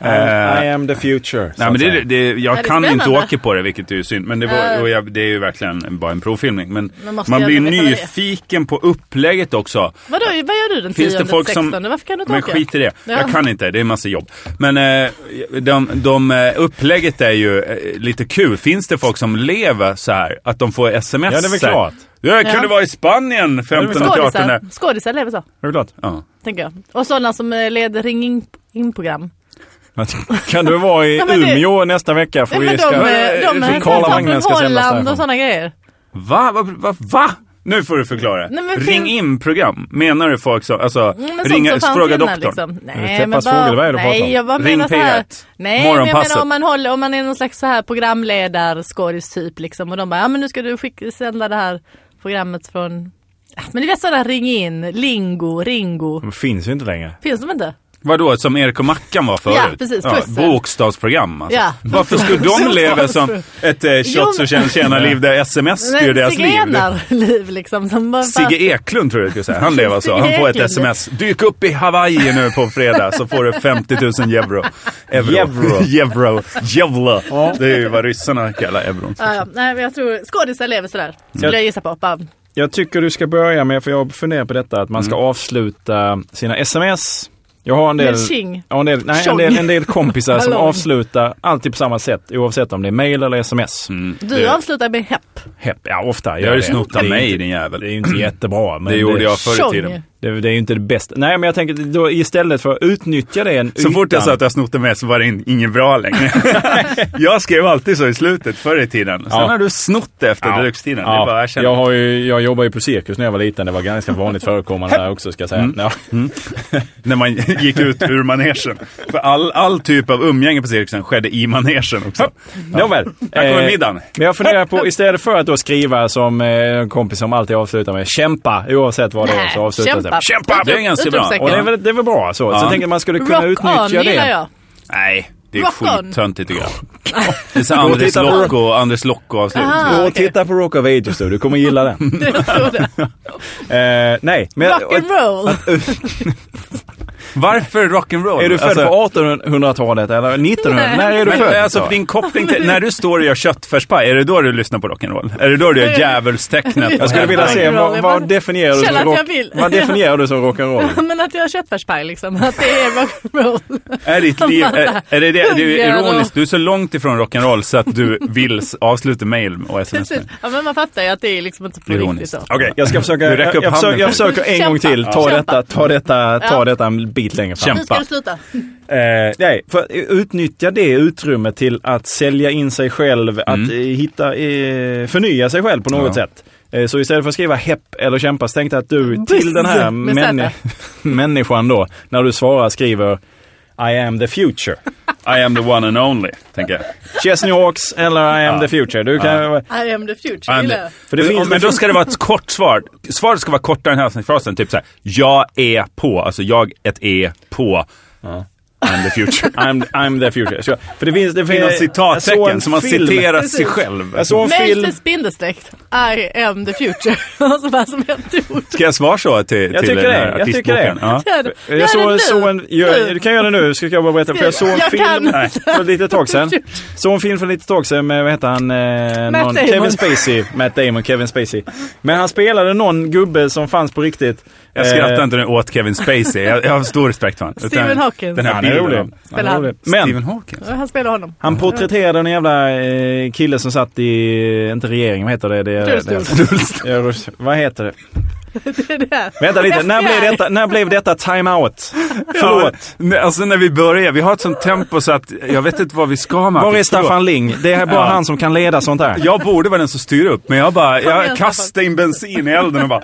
Speaker 3: Eh, I am the future. så
Speaker 1: Nej,
Speaker 3: att
Speaker 1: men det,
Speaker 3: säga.
Speaker 1: det, jag
Speaker 2: Ja, det är
Speaker 1: kan inte
Speaker 2: spännande.
Speaker 1: åka på det, vilket är ju synd. Men det, var,
Speaker 2: Ja.
Speaker 1: och jag, det är ju verkligen bara en provfilmning. Men
Speaker 2: Men måste
Speaker 1: man
Speaker 2: jag
Speaker 1: blir
Speaker 2: ändå veta vad det är?
Speaker 1: nyfiken på upplägget också.
Speaker 2: Vadå, vad gör du den
Speaker 1: Finns
Speaker 2: 10
Speaker 1: det folk som...
Speaker 2: 16? Varför kan du inte
Speaker 1: men
Speaker 2: åka?
Speaker 1: skit i det.
Speaker 2: Ja.
Speaker 1: Jag kan inte, det är en massa jobb. Men eh, de, de, eh, upplägget är ju eh, lite kul. Finns det folk som lever så här? Att de får sms?
Speaker 3: Ja, det är väl
Speaker 1: så här,
Speaker 3: klart.
Speaker 1: Jag kunde
Speaker 2: Ja.
Speaker 1: vara i Spanien 15 och 18.
Speaker 2: Skådisar. Skådisar lever så,
Speaker 3: Är du glad? [LAUGHS]
Speaker 1: Ja.
Speaker 2: tänker jag. Och sådana som eh, leder Ring In-program.
Speaker 3: Kan du vara i
Speaker 2: Ja, men det-
Speaker 3: Umeå nästa vecka? För
Speaker 2: Nej men
Speaker 3: vi
Speaker 2: de,
Speaker 3: ska...
Speaker 2: eh,
Speaker 1: vi
Speaker 2: de, de
Speaker 3: kollar
Speaker 2: tar
Speaker 3: vagnen
Speaker 2: från
Speaker 3: ska sändas
Speaker 2: Holland
Speaker 3: därifrån.
Speaker 2: och sådana grejer.
Speaker 1: Va? Va? Va? Va? Nu får du förklara.
Speaker 2: Nej, men
Speaker 1: Ring
Speaker 2: fin-
Speaker 1: in-program. Menar du folk som... Alltså,
Speaker 2: Mm, Men
Speaker 1: ringa,
Speaker 2: sånt som fanns
Speaker 1: fråga
Speaker 2: innan,
Speaker 1: doktorn.
Speaker 2: Liksom. Nej, men
Speaker 3: Teppas fågel, vad
Speaker 2: bara,
Speaker 3: är det du pratar om?
Speaker 2: nej, jag bara
Speaker 1: Ring
Speaker 2: menar så här.
Speaker 1: P1.
Speaker 2: Nej, men jag
Speaker 1: Morgonpasset.
Speaker 2: menar om man, håller, om man är någon slags så här programledarskådis typ liksom och de bara, ja men nu ska du skicka, sända det här programmet från, Ja, men det är sådana ring in, lingo, ringo.
Speaker 3: De finns ju inte längre.
Speaker 2: Finns de inte?
Speaker 1: Vadå, som Erik och Mackan var förut?
Speaker 2: Ja, precis, pussel.
Speaker 1: bokstavsprogram alltså.
Speaker 2: Ja.
Speaker 1: Varför skulle de leva som ett eh, shots och tjena- tjena-liv där sms styr deras liv?
Speaker 2: alltså. [LAUGHS] liv liksom. Som bara,
Speaker 1: Sigge Eklund tror jag du skulle säga. Han lever så.
Speaker 2: Sigge
Speaker 1: Han får ett
Speaker 2: Eklund.
Speaker 1: sms. Dyk upp i Hawaii nu på fredag så får du 50 000 euro. Euro.
Speaker 3: Euro.
Speaker 1: [LAUGHS] Euro. Jevla. Det är ju vad ryssarna kallar euron.
Speaker 2: Ja, ja. Nej, men jag tror skådisar lever sådär. Skulle
Speaker 3: Jag-
Speaker 2: jag gissa på. Bara,
Speaker 3: Jag tycker du ska börja med, för jag funderar på detta, att man ska avsluta sina sms. Jag har en del,
Speaker 2: Med tjing.
Speaker 3: ja, en del, nej, en
Speaker 2: Tjong.
Speaker 3: del, en del kompisar som
Speaker 2: Ballong.
Speaker 3: avslutar alltid på samma sätt oavsett om det är mail eller sms.
Speaker 2: du
Speaker 1: Det-
Speaker 2: avslutar med hepp.
Speaker 3: Hepp, ja ofta.
Speaker 1: Det
Speaker 3: gör
Speaker 1: har du
Speaker 3: det.
Speaker 1: snott
Speaker 3: Det
Speaker 1: av
Speaker 3: är
Speaker 1: mig
Speaker 3: inte-
Speaker 1: din
Speaker 3: Det
Speaker 1: jävel.
Speaker 3: är ju inte jättebra. Men
Speaker 1: Det gjorde jag förr i
Speaker 2: Tjong.
Speaker 1: tiden.
Speaker 3: Det, det är ju inte det bästa. Nej men jag tänker att då, istället för att utnyttja den
Speaker 1: Så fort jag sa att jag snott det med så var det in, inget bra
Speaker 3: [LAUGHS]
Speaker 1: längre. jag skrev alltid så i slutet förr i tiden. Sen
Speaker 3: Ja.
Speaker 1: har du snott det efter brukstiden. Det är bara att erkänna.
Speaker 3: jag, har ju, jag jobbade ju på cirkus när jag var liten. Det var ganska vanligt förekommande där också ska jag
Speaker 1: Mm.
Speaker 3: säga. Ja.
Speaker 1: När man [LAUGHS] gick ut ur manegen. För all, all typ av umgänge på cirkusen skedde i manegen också.
Speaker 3: [LAUGHS] Nåväl.
Speaker 1: Här kommer
Speaker 3: Eh,
Speaker 1: middagen.
Speaker 3: Men jag funderar på, istället för att då skriva som eh, en kompis som alltid avslutar med kämpa, oavsett vad det är så avslutar det med
Speaker 1: Kämpa! Det är ganska bra.
Speaker 3: Och det är, väl, det är väl bra så. Så
Speaker 1: Ja.
Speaker 3: jag tänker att man skulle kunna
Speaker 2: Rock
Speaker 3: utnyttja
Speaker 2: on
Speaker 3: det.
Speaker 2: gillar jag. [LAUGHS]
Speaker 1: Nej, det är
Speaker 2: Rock on.
Speaker 1: skittöntigt tycker jag. [LAUGHS] Det är så
Speaker 3: Gå och
Speaker 1: Andres
Speaker 3: titta på-
Speaker 1: Locko, Andres Locko-avslut.
Speaker 2: Aha.
Speaker 3: Gå och
Speaker 2: Ah, okej.
Speaker 3: titta på Rock of Ages du, du kommer
Speaker 1: [LAUGHS]
Speaker 3: gilla den.
Speaker 2: Jag tror det.
Speaker 3: Eh, nej, men
Speaker 2: Rock and roll.
Speaker 1: Varför rock'n'roll?
Speaker 3: är du född
Speaker 1: Alltså-
Speaker 3: på 1800-talet eller 1900-talet?
Speaker 2: Nej.
Speaker 3: När är du
Speaker 1: Men
Speaker 3: född?
Speaker 1: alltså din koppling
Speaker 3: [LAUGHS]
Speaker 1: till, när du står och gör köttfärspaj, är det då du lyssnar på rock'n'roll? Är det då du gör djävulstecknet?
Speaker 3: jag skulle vilja se,
Speaker 2: Rock'n'roll,
Speaker 3: vad,
Speaker 2: jag
Speaker 3: vad
Speaker 2: bara-
Speaker 3: definierar du som
Speaker 2: Känner att jag
Speaker 3: rock-
Speaker 2: vill.
Speaker 3: Vad definierar du som rock'n'roll? [LAUGHS]
Speaker 2: Men att jag har köttfärspaj liksom. Att det är rock and roll.
Speaker 1: Är ditt liv, är, är det, det, det är
Speaker 2: Hungriga då.
Speaker 1: ironiskt, du är så långt ifrån rock'n'roll så att du vill s- avsluta mail och sms.
Speaker 2: [LAUGHS] Precis. Ja, men man fattar ju att det är liksom inte på riktigt
Speaker 1: Ironiskt.
Speaker 2: så.
Speaker 1: Okej,
Speaker 3: Jag ska försöka,
Speaker 1: Du räcker
Speaker 3: jag,
Speaker 1: upp
Speaker 3: jag försöker, jag
Speaker 1: handen.
Speaker 3: försöker en gång till
Speaker 2: Kämpa.
Speaker 3: ta
Speaker 2: Kämpa.
Speaker 3: detta, ta detta, ta
Speaker 2: Ja.
Speaker 3: detta en bit längre fram.
Speaker 2: Nu ska du sluta.
Speaker 3: Eh, nej, för att utnyttja det utrymmet till att sälja in sig själv, att eh, hitta, eh, förnya sig själv på något
Speaker 1: Ja.
Speaker 3: sätt. Eh, så istället för att skriva hepp eller kämpa så tänkte jag att du till
Speaker 2: Buss
Speaker 3: den här
Speaker 2: med Z.
Speaker 3: männi- [LAUGHS] människan då, när du svarar skriver I am the future.
Speaker 1: I am the one and only, tänker jag.
Speaker 3: Chesney Hawks eller I am the future. Du kan,
Speaker 2: I am the future.
Speaker 1: I'm
Speaker 2: gillar
Speaker 1: the-
Speaker 2: jag.
Speaker 3: För det
Speaker 1: Men-
Speaker 3: finns-
Speaker 1: men då ska det vara ett kort svar. Svaret ska vara kortare än hälsningsfrasen. Typ så här, jag är på. Alltså jag, ett e, på. I'm the future. [LAUGHS]
Speaker 3: I'm, I'm the future. Så, jag- för det finns, det finns
Speaker 1: Inom
Speaker 3: jag såg en
Speaker 1: citattecken, så man
Speaker 3: film.
Speaker 1: citerar sig
Speaker 2: Precis.
Speaker 1: själv.
Speaker 3: Jag såg en film.
Speaker 2: Maces bindestreck, I am the future. [LAUGHS] alltså vad som ett ord.
Speaker 1: Ska jag svara så till,
Speaker 3: Jag
Speaker 1: till
Speaker 3: tycker
Speaker 1: den här
Speaker 3: det, jag tycker
Speaker 1: artistboken?
Speaker 3: det.
Speaker 1: Ja.
Speaker 2: Gör det. Gör
Speaker 3: Jag såg,
Speaker 2: det
Speaker 3: såg en, gör,
Speaker 2: Nu.
Speaker 3: du kan göra det nu, ska jag bara berätta. För jag såg en
Speaker 2: Jag kan
Speaker 3: film
Speaker 2: inte.
Speaker 3: för lite
Speaker 2: [LAUGHS]
Speaker 3: tag sedan. Såg en film för lite tag sedan med, vad heter han, eh,
Speaker 2: Matt Damon.
Speaker 3: någon, Kevin Spacey. Matt Damon, Kevin Spacey. Men han spelade någon gubbe som fanns på riktigt. eh,
Speaker 1: Jag skrattar inte nu åt Kevin Spacey. Jag, jag har stor respekt för honom.
Speaker 2: Stephen Hawking.
Speaker 1: Den här
Speaker 3: Han är
Speaker 1: bilden.
Speaker 3: rolig.
Speaker 1: av-
Speaker 3: Han är
Speaker 2: han.
Speaker 3: rolig.
Speaker 1: Stephen [LAUGHS]
Speaker 3: Men
Speaker 1: Hawking.
Speaker 2: Han spelar honom. [LAUGHS]
Speaker 3: han porträtterade en jävla eh, kille som satt i, inte regeringen, vad heter det? det, det,
Speaker 2: Rullstol.
Speaker 3: Ja, rullstol. Vad heter det?
Speaker 2: Det är det.
Speaker 3: Vänta lite, när
Speaker 2: FBI.
Speaker 3: blev detta, när blev
Speaker 1: [LAUGHS]
Speaker 3: detta time-out? Förlåt.
Speaker 1: Ja, alltså när vi börjar, vi har ett sånt tempo så att jag vet inte vad vi ska med.
Speaker 3: Var är Staffan Ling? Det är bara
Speaker 1: Ja.
Speaker 3: han som kan leda sånt här.
Speaker 1: Jag borde vara den som styr upp, men jag bara
Speaker 2: igen, Staffan.
Speaker 1: jag kastar in bensin i elden och bara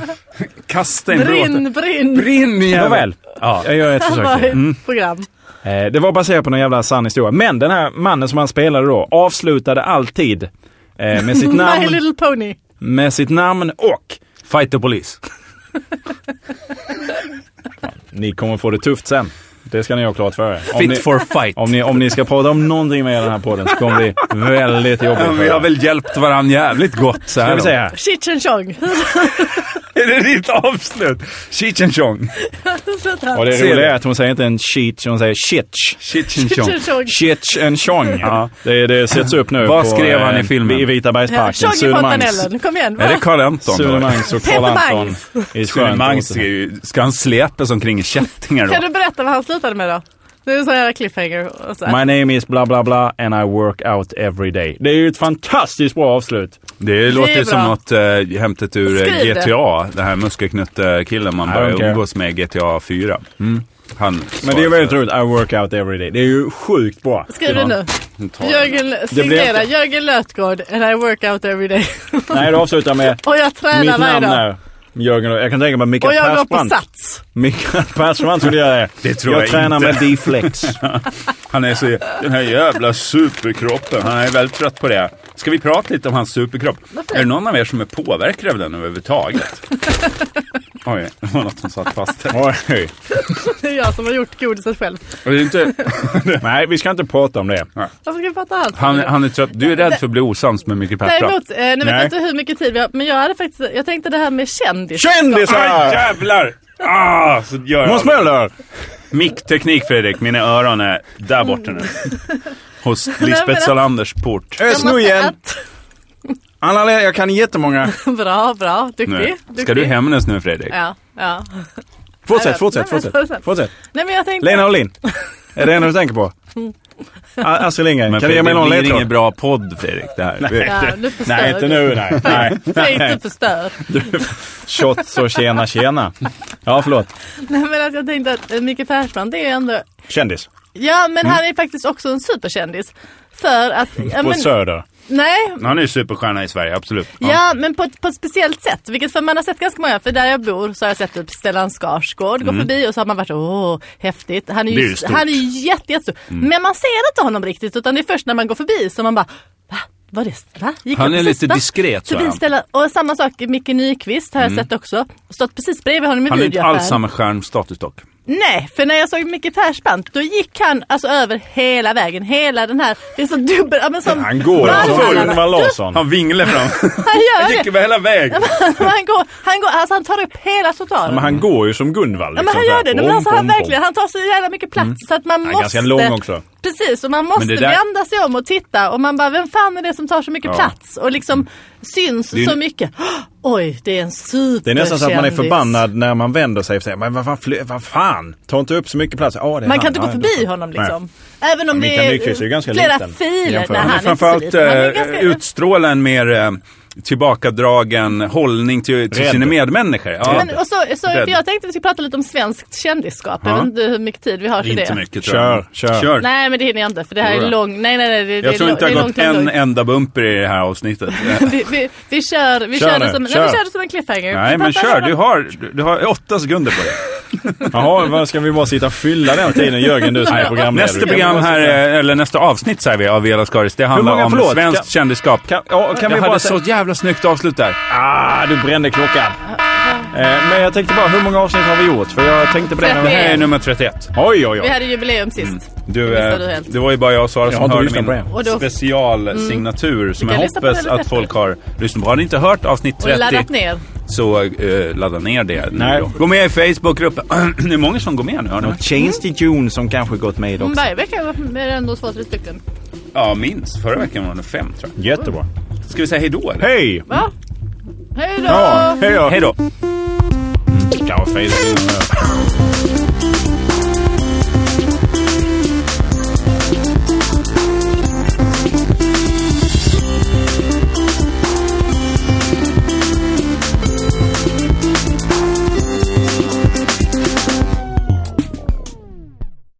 Speaker 1: kastar in bråten.
Speaker 2: Brinn, brinn.
Speaker 1: Brinn jävel.
Speaker 3: Nåväl.
Speaker 1: Ja.
Speaker 3: Jag gör
Speaker 2: [LAUGHS]
Speaker 3: ett
Speaker 2: Han
Speaker 1: [LAUGHS]
Speaker 3: försök.
Speaker 2: var
Speaker 3: till.
Speaker 2: i program.
Speaker 3: Eh, Det var baserat på någon jävla sann historia. Men den här mannen som han spelade då avslutade alltid eh,
Speaker 1: [LAUGHS]
Speaker 3: med sitt
Speaker 2: My
Speaker 3: namn,
Speaker 2: little pony.
Speaker 3: med sitt namn och...
Speaker 1: Fight the [LAUGHS] police.
Speaker 3: Ni kommer få det tufft sen. Det ska ni ha klart för er. Om
Speaker 1: Fit
Speaker 3: ni,
Speaker 1: for fight.
Speaker 3: om ni, om ni ska prata om någonting med den här podden så kommer det bli väldigt jobbigt
Speaker 1: Ja,
Speaker 3: för
Speaker 1: vi har
Speaker 3: er.
Speaker 1: väl hjälpt varandra jävligt gott så här
Speaker 3: Ska vi
Speaker 1: långt.
Speaker 3: säga.
Speaker 2: Chitch and chong. [LAUGHS]
Speaker 1: Är det ditt avslut? Cheech and chong.
Speaker 2: Sluta.
Speaker 3: Och det
Speaker 1: Ser
Speaker 3: roliga
Speaker 1: det.
Speaker 3: är att hon säger inte en cheat, hon säger shitch.
Speaker 1: Cheech and chong.
Speaker 2: Chitch and chong.
Speaker 3: Shitch and Chong.
Speaker 1: Ja.
Speaker 3: Det, det sätts upp nu.
Speaker 1: Vad
Speaker 3: på,
Speaker 1: skrev han i
Speaker 3: eh,
Speaker 1: filmen?
Speaker 3: I Vita
Speaker 2: Ja,
Speaker 3: bergsparken.
Speaker 2: Chong i fontanellen. Kom igen.
Speaker 1: Är det Karl Anton?
Speaker 3: Sune Mangs och Karl
Speaker 2: Peter
Speaker 3: Anton.
Speaker 2: Mangs.
Speaker 3: i ett
Speaker 1: Sune
Speaker 3: skönt
Speaker 1: Mangs är ju, ska han släpas omkring i kättingar då?
Speaker 2: Kan du berätta vad han slutade med då? Det är en sån här cliffhanger. Och så här.
Speaker 3: My name is bla bla bla and I work out every day. Det är ju ett fantastiskt bra avslut.
Speaker 1: Det låter
Speaker 2: bra.
Speaker 1: som något eh, hämtat ur eh,
Speaker 2: Skriv det.
Speaker 1: GTA. Den här muskelknutte-killen man
Speaker 3: I
Speaker 1: börjar
Speaker 3: don't care.
Speaker 1: umgås med i GTA 4. Han
Speaker 3: Men det är väldigt roligt. I work out every day. Det är ju sjukt bra.
Speaker 2: Skriv det nu. Jörgen
Speaker 3: blev
Speaker 2: signera
Speaker 3: inte-
Speaker 2: Jörgen Lötgård and I work out every day.
Speaker 3: Nej, det
Speaker 2: [LAUGHS]
Speaker 3: avslutar med
Speaker 2: och jag tränar
Speaker 3: mitt
Speaker 2: varje
Speaker 3: namn
Speaker 2: dag.
Speaker 3: är Jörgen. Jag kan tänka mig
Speaker 2: Och
Speaker 3: Mikael
Speaker 2: jag går på
Speaker 3: Persbrandt.
Speaker 2: Sats.
Speaker 3: Mikael Persbrandt skulle göra det.
Speaker 1: Det tror jag
Speaker 3: tränar
Speaker 1: inte. [LAUGHS]
Speaker 3: med D-flex.
Speaker 1: Han är så... Den här jävla superkroppen. Han är väldigt trött på det. Ska vi prata lite om hans superkropp? Är det någon av er som är påverkad av den
Speaker 2: [LAUGHS]
Speaker 1: överhuvudtaget? Oj, det var något som satt fast här.
Speaker 3: Oj.
Speaker 2: Det är jag som har gjort godiset själv.
Speaker 1: Och det är inte...
Speaker 3: Nej, vi ska inte prata om det.
Speaker 2: Varför ska vi prata allt?
Speaker 1: Han, han är trött. Du är rädd för att bli osams med Micke Persbrandt.
Speaker 2: Däremot, eh, nu vet
Speaker 3: Nej.
Speaker 2: jag inte hur mycket tid vi har, men jag hade faktiskt, jag tänkte det här med kändis.
Speaker 1: Ah,
Speaker 3: Kändisar!
Speaker 1: jävlar! Ah, så gör
Speaker 3: Måns
Speaker 1: jag.
Speaker 3: Möller!
Speaker 1: Mickteknik Fredrik, mina öron är där borta nu.
Speaker 2: [LAUGHS]
Speaker 1: Hos
Speaker 2: Mm. men-
Speaker 1: Lisbeth Salanders port.
Speaker 2: Jag
Speaker 3: Ös
Speaker 2: måste
Speaker 3: nu igen!
Speaker 2: ät-
Speaker 3: Anna Le- jag kan jättemånga.
Speaker 2: Bra, bra, duktig.
Speaker 1: Nu. Ska
Speaker 2: duktig.
Speaker 1: du hämnas nu Fredrik?
Speaker 2: Ja, ja.
Speaker 3: Fortsätt,
Speaker 2: Nej,
Speaker 3: fortsätt,
Speaker 2: men-
Speaker 3: fortsätt. fortsätt.
Speaker 2: Nej men jag tänkte...
Speaker 3: Lena
Speaker 2: [LAUGHS]
Speaker 3: Olin. Är det enda du tänker på? A- Astrid Lindgren,
Speaker 1: Men
Speaker 3: kan du ge
Speaker 1: Fredrik,
Speaker 3: mig någon
Speaker 1: det blir ingen
Speaker 3: ledtråd?
Speaker 1: bra podd Fredrik det här.
Speaker 2: Ja, nu förstör
Speaker 3: Nej,
Speaker 2: du.
Speaker 3: inte nu.
Speaker 2: [LAUGHS]
Speaker 3: Nej. nej.
Speaker 2: Säg inte förstör.
Speaker 3: Shots och tjena tjena. Ja, förlåt.
Speaker 2: Nej men att jag tänkte att eh, Micke Persbrandt det är ju ändå...
Speaker 3: Kändis.
Speaker 2: Ja
Speaker 1: Mm.
Speaker 2: men han är faktiskt också en superkändis. För att... Ja,
Speaker 3: På
Speaker 2: men,
Speaker 3: Söder.
Speaker 2: nej,
Speaker 1: Han är ju superstjärna i Sverige, absolut.
Speaker 2: Ja, men på ett, på ett speciellt sätt. Vilket för man har sett ganska många. För där jag bor så har jag sett typ Stellan Skarsgård gå förbi och så har man varit åh, häftigt. Han är
Speaker 1: Mm. Det är
Speaker 2: ju,
Speaker 1: ju stort. Mm.
Speaker 2: han är ju jätte, jättestor. Men man ser inte honom riktigt utan det är först när man går förbi som man bara va? Var det, va? Gick
Speaker 1: Han
Speaker 2: jag
Speaker 1: är
Speaker 2: precis,
Speaker 1: lite
Speaker 2: va?"
Speaker 1: diskret, så är
Speaker 2: Förbi
Speaker 1: han.
Speaker 2: Stellan, och samma sak Micke Nyqvist har jag sett också. Stått precis bredvid honom i
Speaker 1: Han har inte alls
Speaker 2: videoaffären.
Speaker 1: samma stjärnstatus dock.
Speaker 2: Nej, för när jag såg Micke Persbrandt då gick han alltså över hela vägen. Hela den här, det är så dubbel, ja, men som
Speaker 3: Han går som
Speaker 2: Valhalla.
Speaker 3: Ingvar Larsson.
Speaker 1: Han vinglar
Speaker 2: [LAUGHS]
Speaker 1: fram.
Speaker 2: Han gör
Speaker 1: Han
Speaker 2: det.
Speaker 1: gick över hela vägen.
Speaker 2: han, går, han, går, alltså han tar upp hela totalen.
Speaker 3: Men han går ju som Gunvald.
Speaker 2: Ja, men
Speaker 3: liksom,
Speaker 2: han
Speaker 3: så här.
Speaker 2: gör det. Men
Speaker 3: Bom,
Speaker 2: alltså, han,
Speaker 3: bom, bom.
Speaker 2: verkligen, han tar så jävla mycket plats så att man
Speaker 3: Mm. är
Speaker 2: måste...
Speaker 3: ganska lång också.
Speaker 2: Precis, och man måste
Speaker 1: det där-
Speaker 2: vända sig om och titta och man bara, vem fan är det som tar så mycket
Speaker 1: Ja.
Speaker 2: plats och liksom
Speaker 3: Mm.
Speaker 2: syns
Speaker 1: är ju-
Speaker 2: så mycket? [GASPS] Oj, det är en superkändis.
Speaker 3: Det är nästan så att man är förbannad när man vänder sig och säger men vad fan, fly- vad fan, ta inte upp så mycket plats. Ja, det är
Speaker 2: Man
Speaker 3: han.
Speaker 2: kan inte gå
Speaker 3: Ja,
Speaker 2: förbi honom liksom. Även om
Speaker 3: Mikael
Speaker 2: det är,
Speaker 3: Nyqvist är ju ganska
Speaker 2: flera
Speaker 3: liten
Speaker 2: filer.
Speaker 3: jämfört
Speaker 2: Nej, han
Speaker 3: med-
Speaker 1: Han
Speaker 2: är
Speaker 1: är
Speaker 2: inte så
Speaker 1: framförallt
Speaker 2: liten. Han är
Speaker 1: eh,
Speaker 2: ganska...
Speaker 1: utstrålar en mer eh, tillbakadragen hållning till, till
Speaker 3: Rädd.
Speaker 1: sina medmänniskor. Ja.
Speaker 2: Men, och så, så, för
Speaker 1: Rädd.
Speaker 2: jag tänkte vi skulle prata lite om svenskt kändisskap. Jag
Speaker 1: Ja.
Speaker 2: vet inte hur mycket tid vi har till
Speaker 1: Inte
Speaker 2: det.
Speaker 1: mycket tror jag.
Speaker 3: Kör, kör.
Speaker 1: kör.
Speaker 2: Nej, men det hinner jag inte för det här är
Speaker 1: Jodå.
Speaker 2: lång... Nej, nej, nej. Det, det är
Speaker 1: Jag tror
Speaker 2: lång-
Speaker 1: inte
Speaker 2: det
Speaker 1: jag
Speaker 2: är
Speaker 1: har
Speaker 2: långt,
Speaker 1: gått
Speaker 2: långt,
Speaker 1: en
Speaker 2: långt.
Speaker 1: enda bumper i det här
Speaker 2: [LAUGHS]
Speaker 1: avsnittet.
Speaker 2: vi, vi, vi kör, vi
Speaker 3: Kör
Speaker 2: kör,
Speaker 3: nu,
Speaker 2: det som, Nej,
Speaker 3: kör.
Speaker 2: vi kör det som en cliffhanger.
Speaker 1: Nej,
Speaker 2: Vi
Speaker 1: men
Speaker 2: pratar
Speaker 1: kör.
Speaker 2: om-
Speaker 1: Du har, du- du har åtta sekunder på dig.
Speaker 3: Jaha, vad ska vi bara sitta och fylla den tiden Jörgen, du som är programledare?
Speaker 1: Nästa
Speaker 3: Du kan
Speaker 1: program
Speaker 3: bara
Speaker 1: här,
Speaker 3: sitta-
Speaker 1: eh, eller nästa avsnitt säger vi, av Vela Skaris, det handlar
Speaker 3: många?
Speaker 1: om
Speaker 3: Förlåt,
Speaker 1: svenskt
Speaker 3: kan-
Speaker 1: kändisskap.
Speaker 3: Kan, ja, kan
Speaker 1: jag
Speaker 3: vi bara...
Speaker 1: hade
Speaker 3: Så...
Speaker 1: så jävla snyggt avslut där.
Speaker 3: Ah, du brände klockan. Eh, Men jag tänkte bara, hur många avsnitt har vi gjort? För jag tänkte på det när
Speaker 1: Det
Speaker 3: vi...
Speaker 1: här är nummer 31.
Speaker 3: Eh. Oj, oj,
Speaker 2: Vi
Speaker 3: oj.
Speaker 2: hade jubileum sist.
Speaker 1: Du,
Speaker 2: Det missade
Speaker 1: eh,
Speaker 2: du helt.
Speaker 1: det var ju bara jag och Sara
Speaker 3: Jag
Speaker 1: som
Speaker 3: har inte
Speaker 1: hörde
Speaker 3: lyssnat på det. Mm.
Speaker 1: min
Speaker 2: Och då-
Speaker 1: specialsignatur som
Speaker 2: Vi
Speaker 1: jag
Speaker 2: kan lyssna på
Speaker 1: hoppas
Speaker 2: det lite
Speaker 1: att folk har lyssnat på. Har ni inte hört avsnitt
Speaker 2: Och laddat
Speaker 1: 30
Speaker 2: ner.
Speaker 1: så eh, ladda ner det. nu
Speaker 3: Nej.
Speaker 1: då. Gå med i Facebookgruppen. [CLEARS THROAT] det är många som går med nu. Har ni?
Speaker 3: Och Change to June som kanske gått med
Speaker 2: Men
Speaker 3: också.
Speaker 2: Varje vecka är det ändå två, tre stycken.
Speaker 1: Ja, minst. Förra veckan var det fem tror jag.
Speaker 3: Jättebra.
Speaker 1: Ska vi säga hej då eller?
Speaker 3: Hej!
Speaker 2: Va? Hej då!
Speaker 3: Ja, hej då!
Speaker 1: Hej då!
Speaker 3: Kaffeis.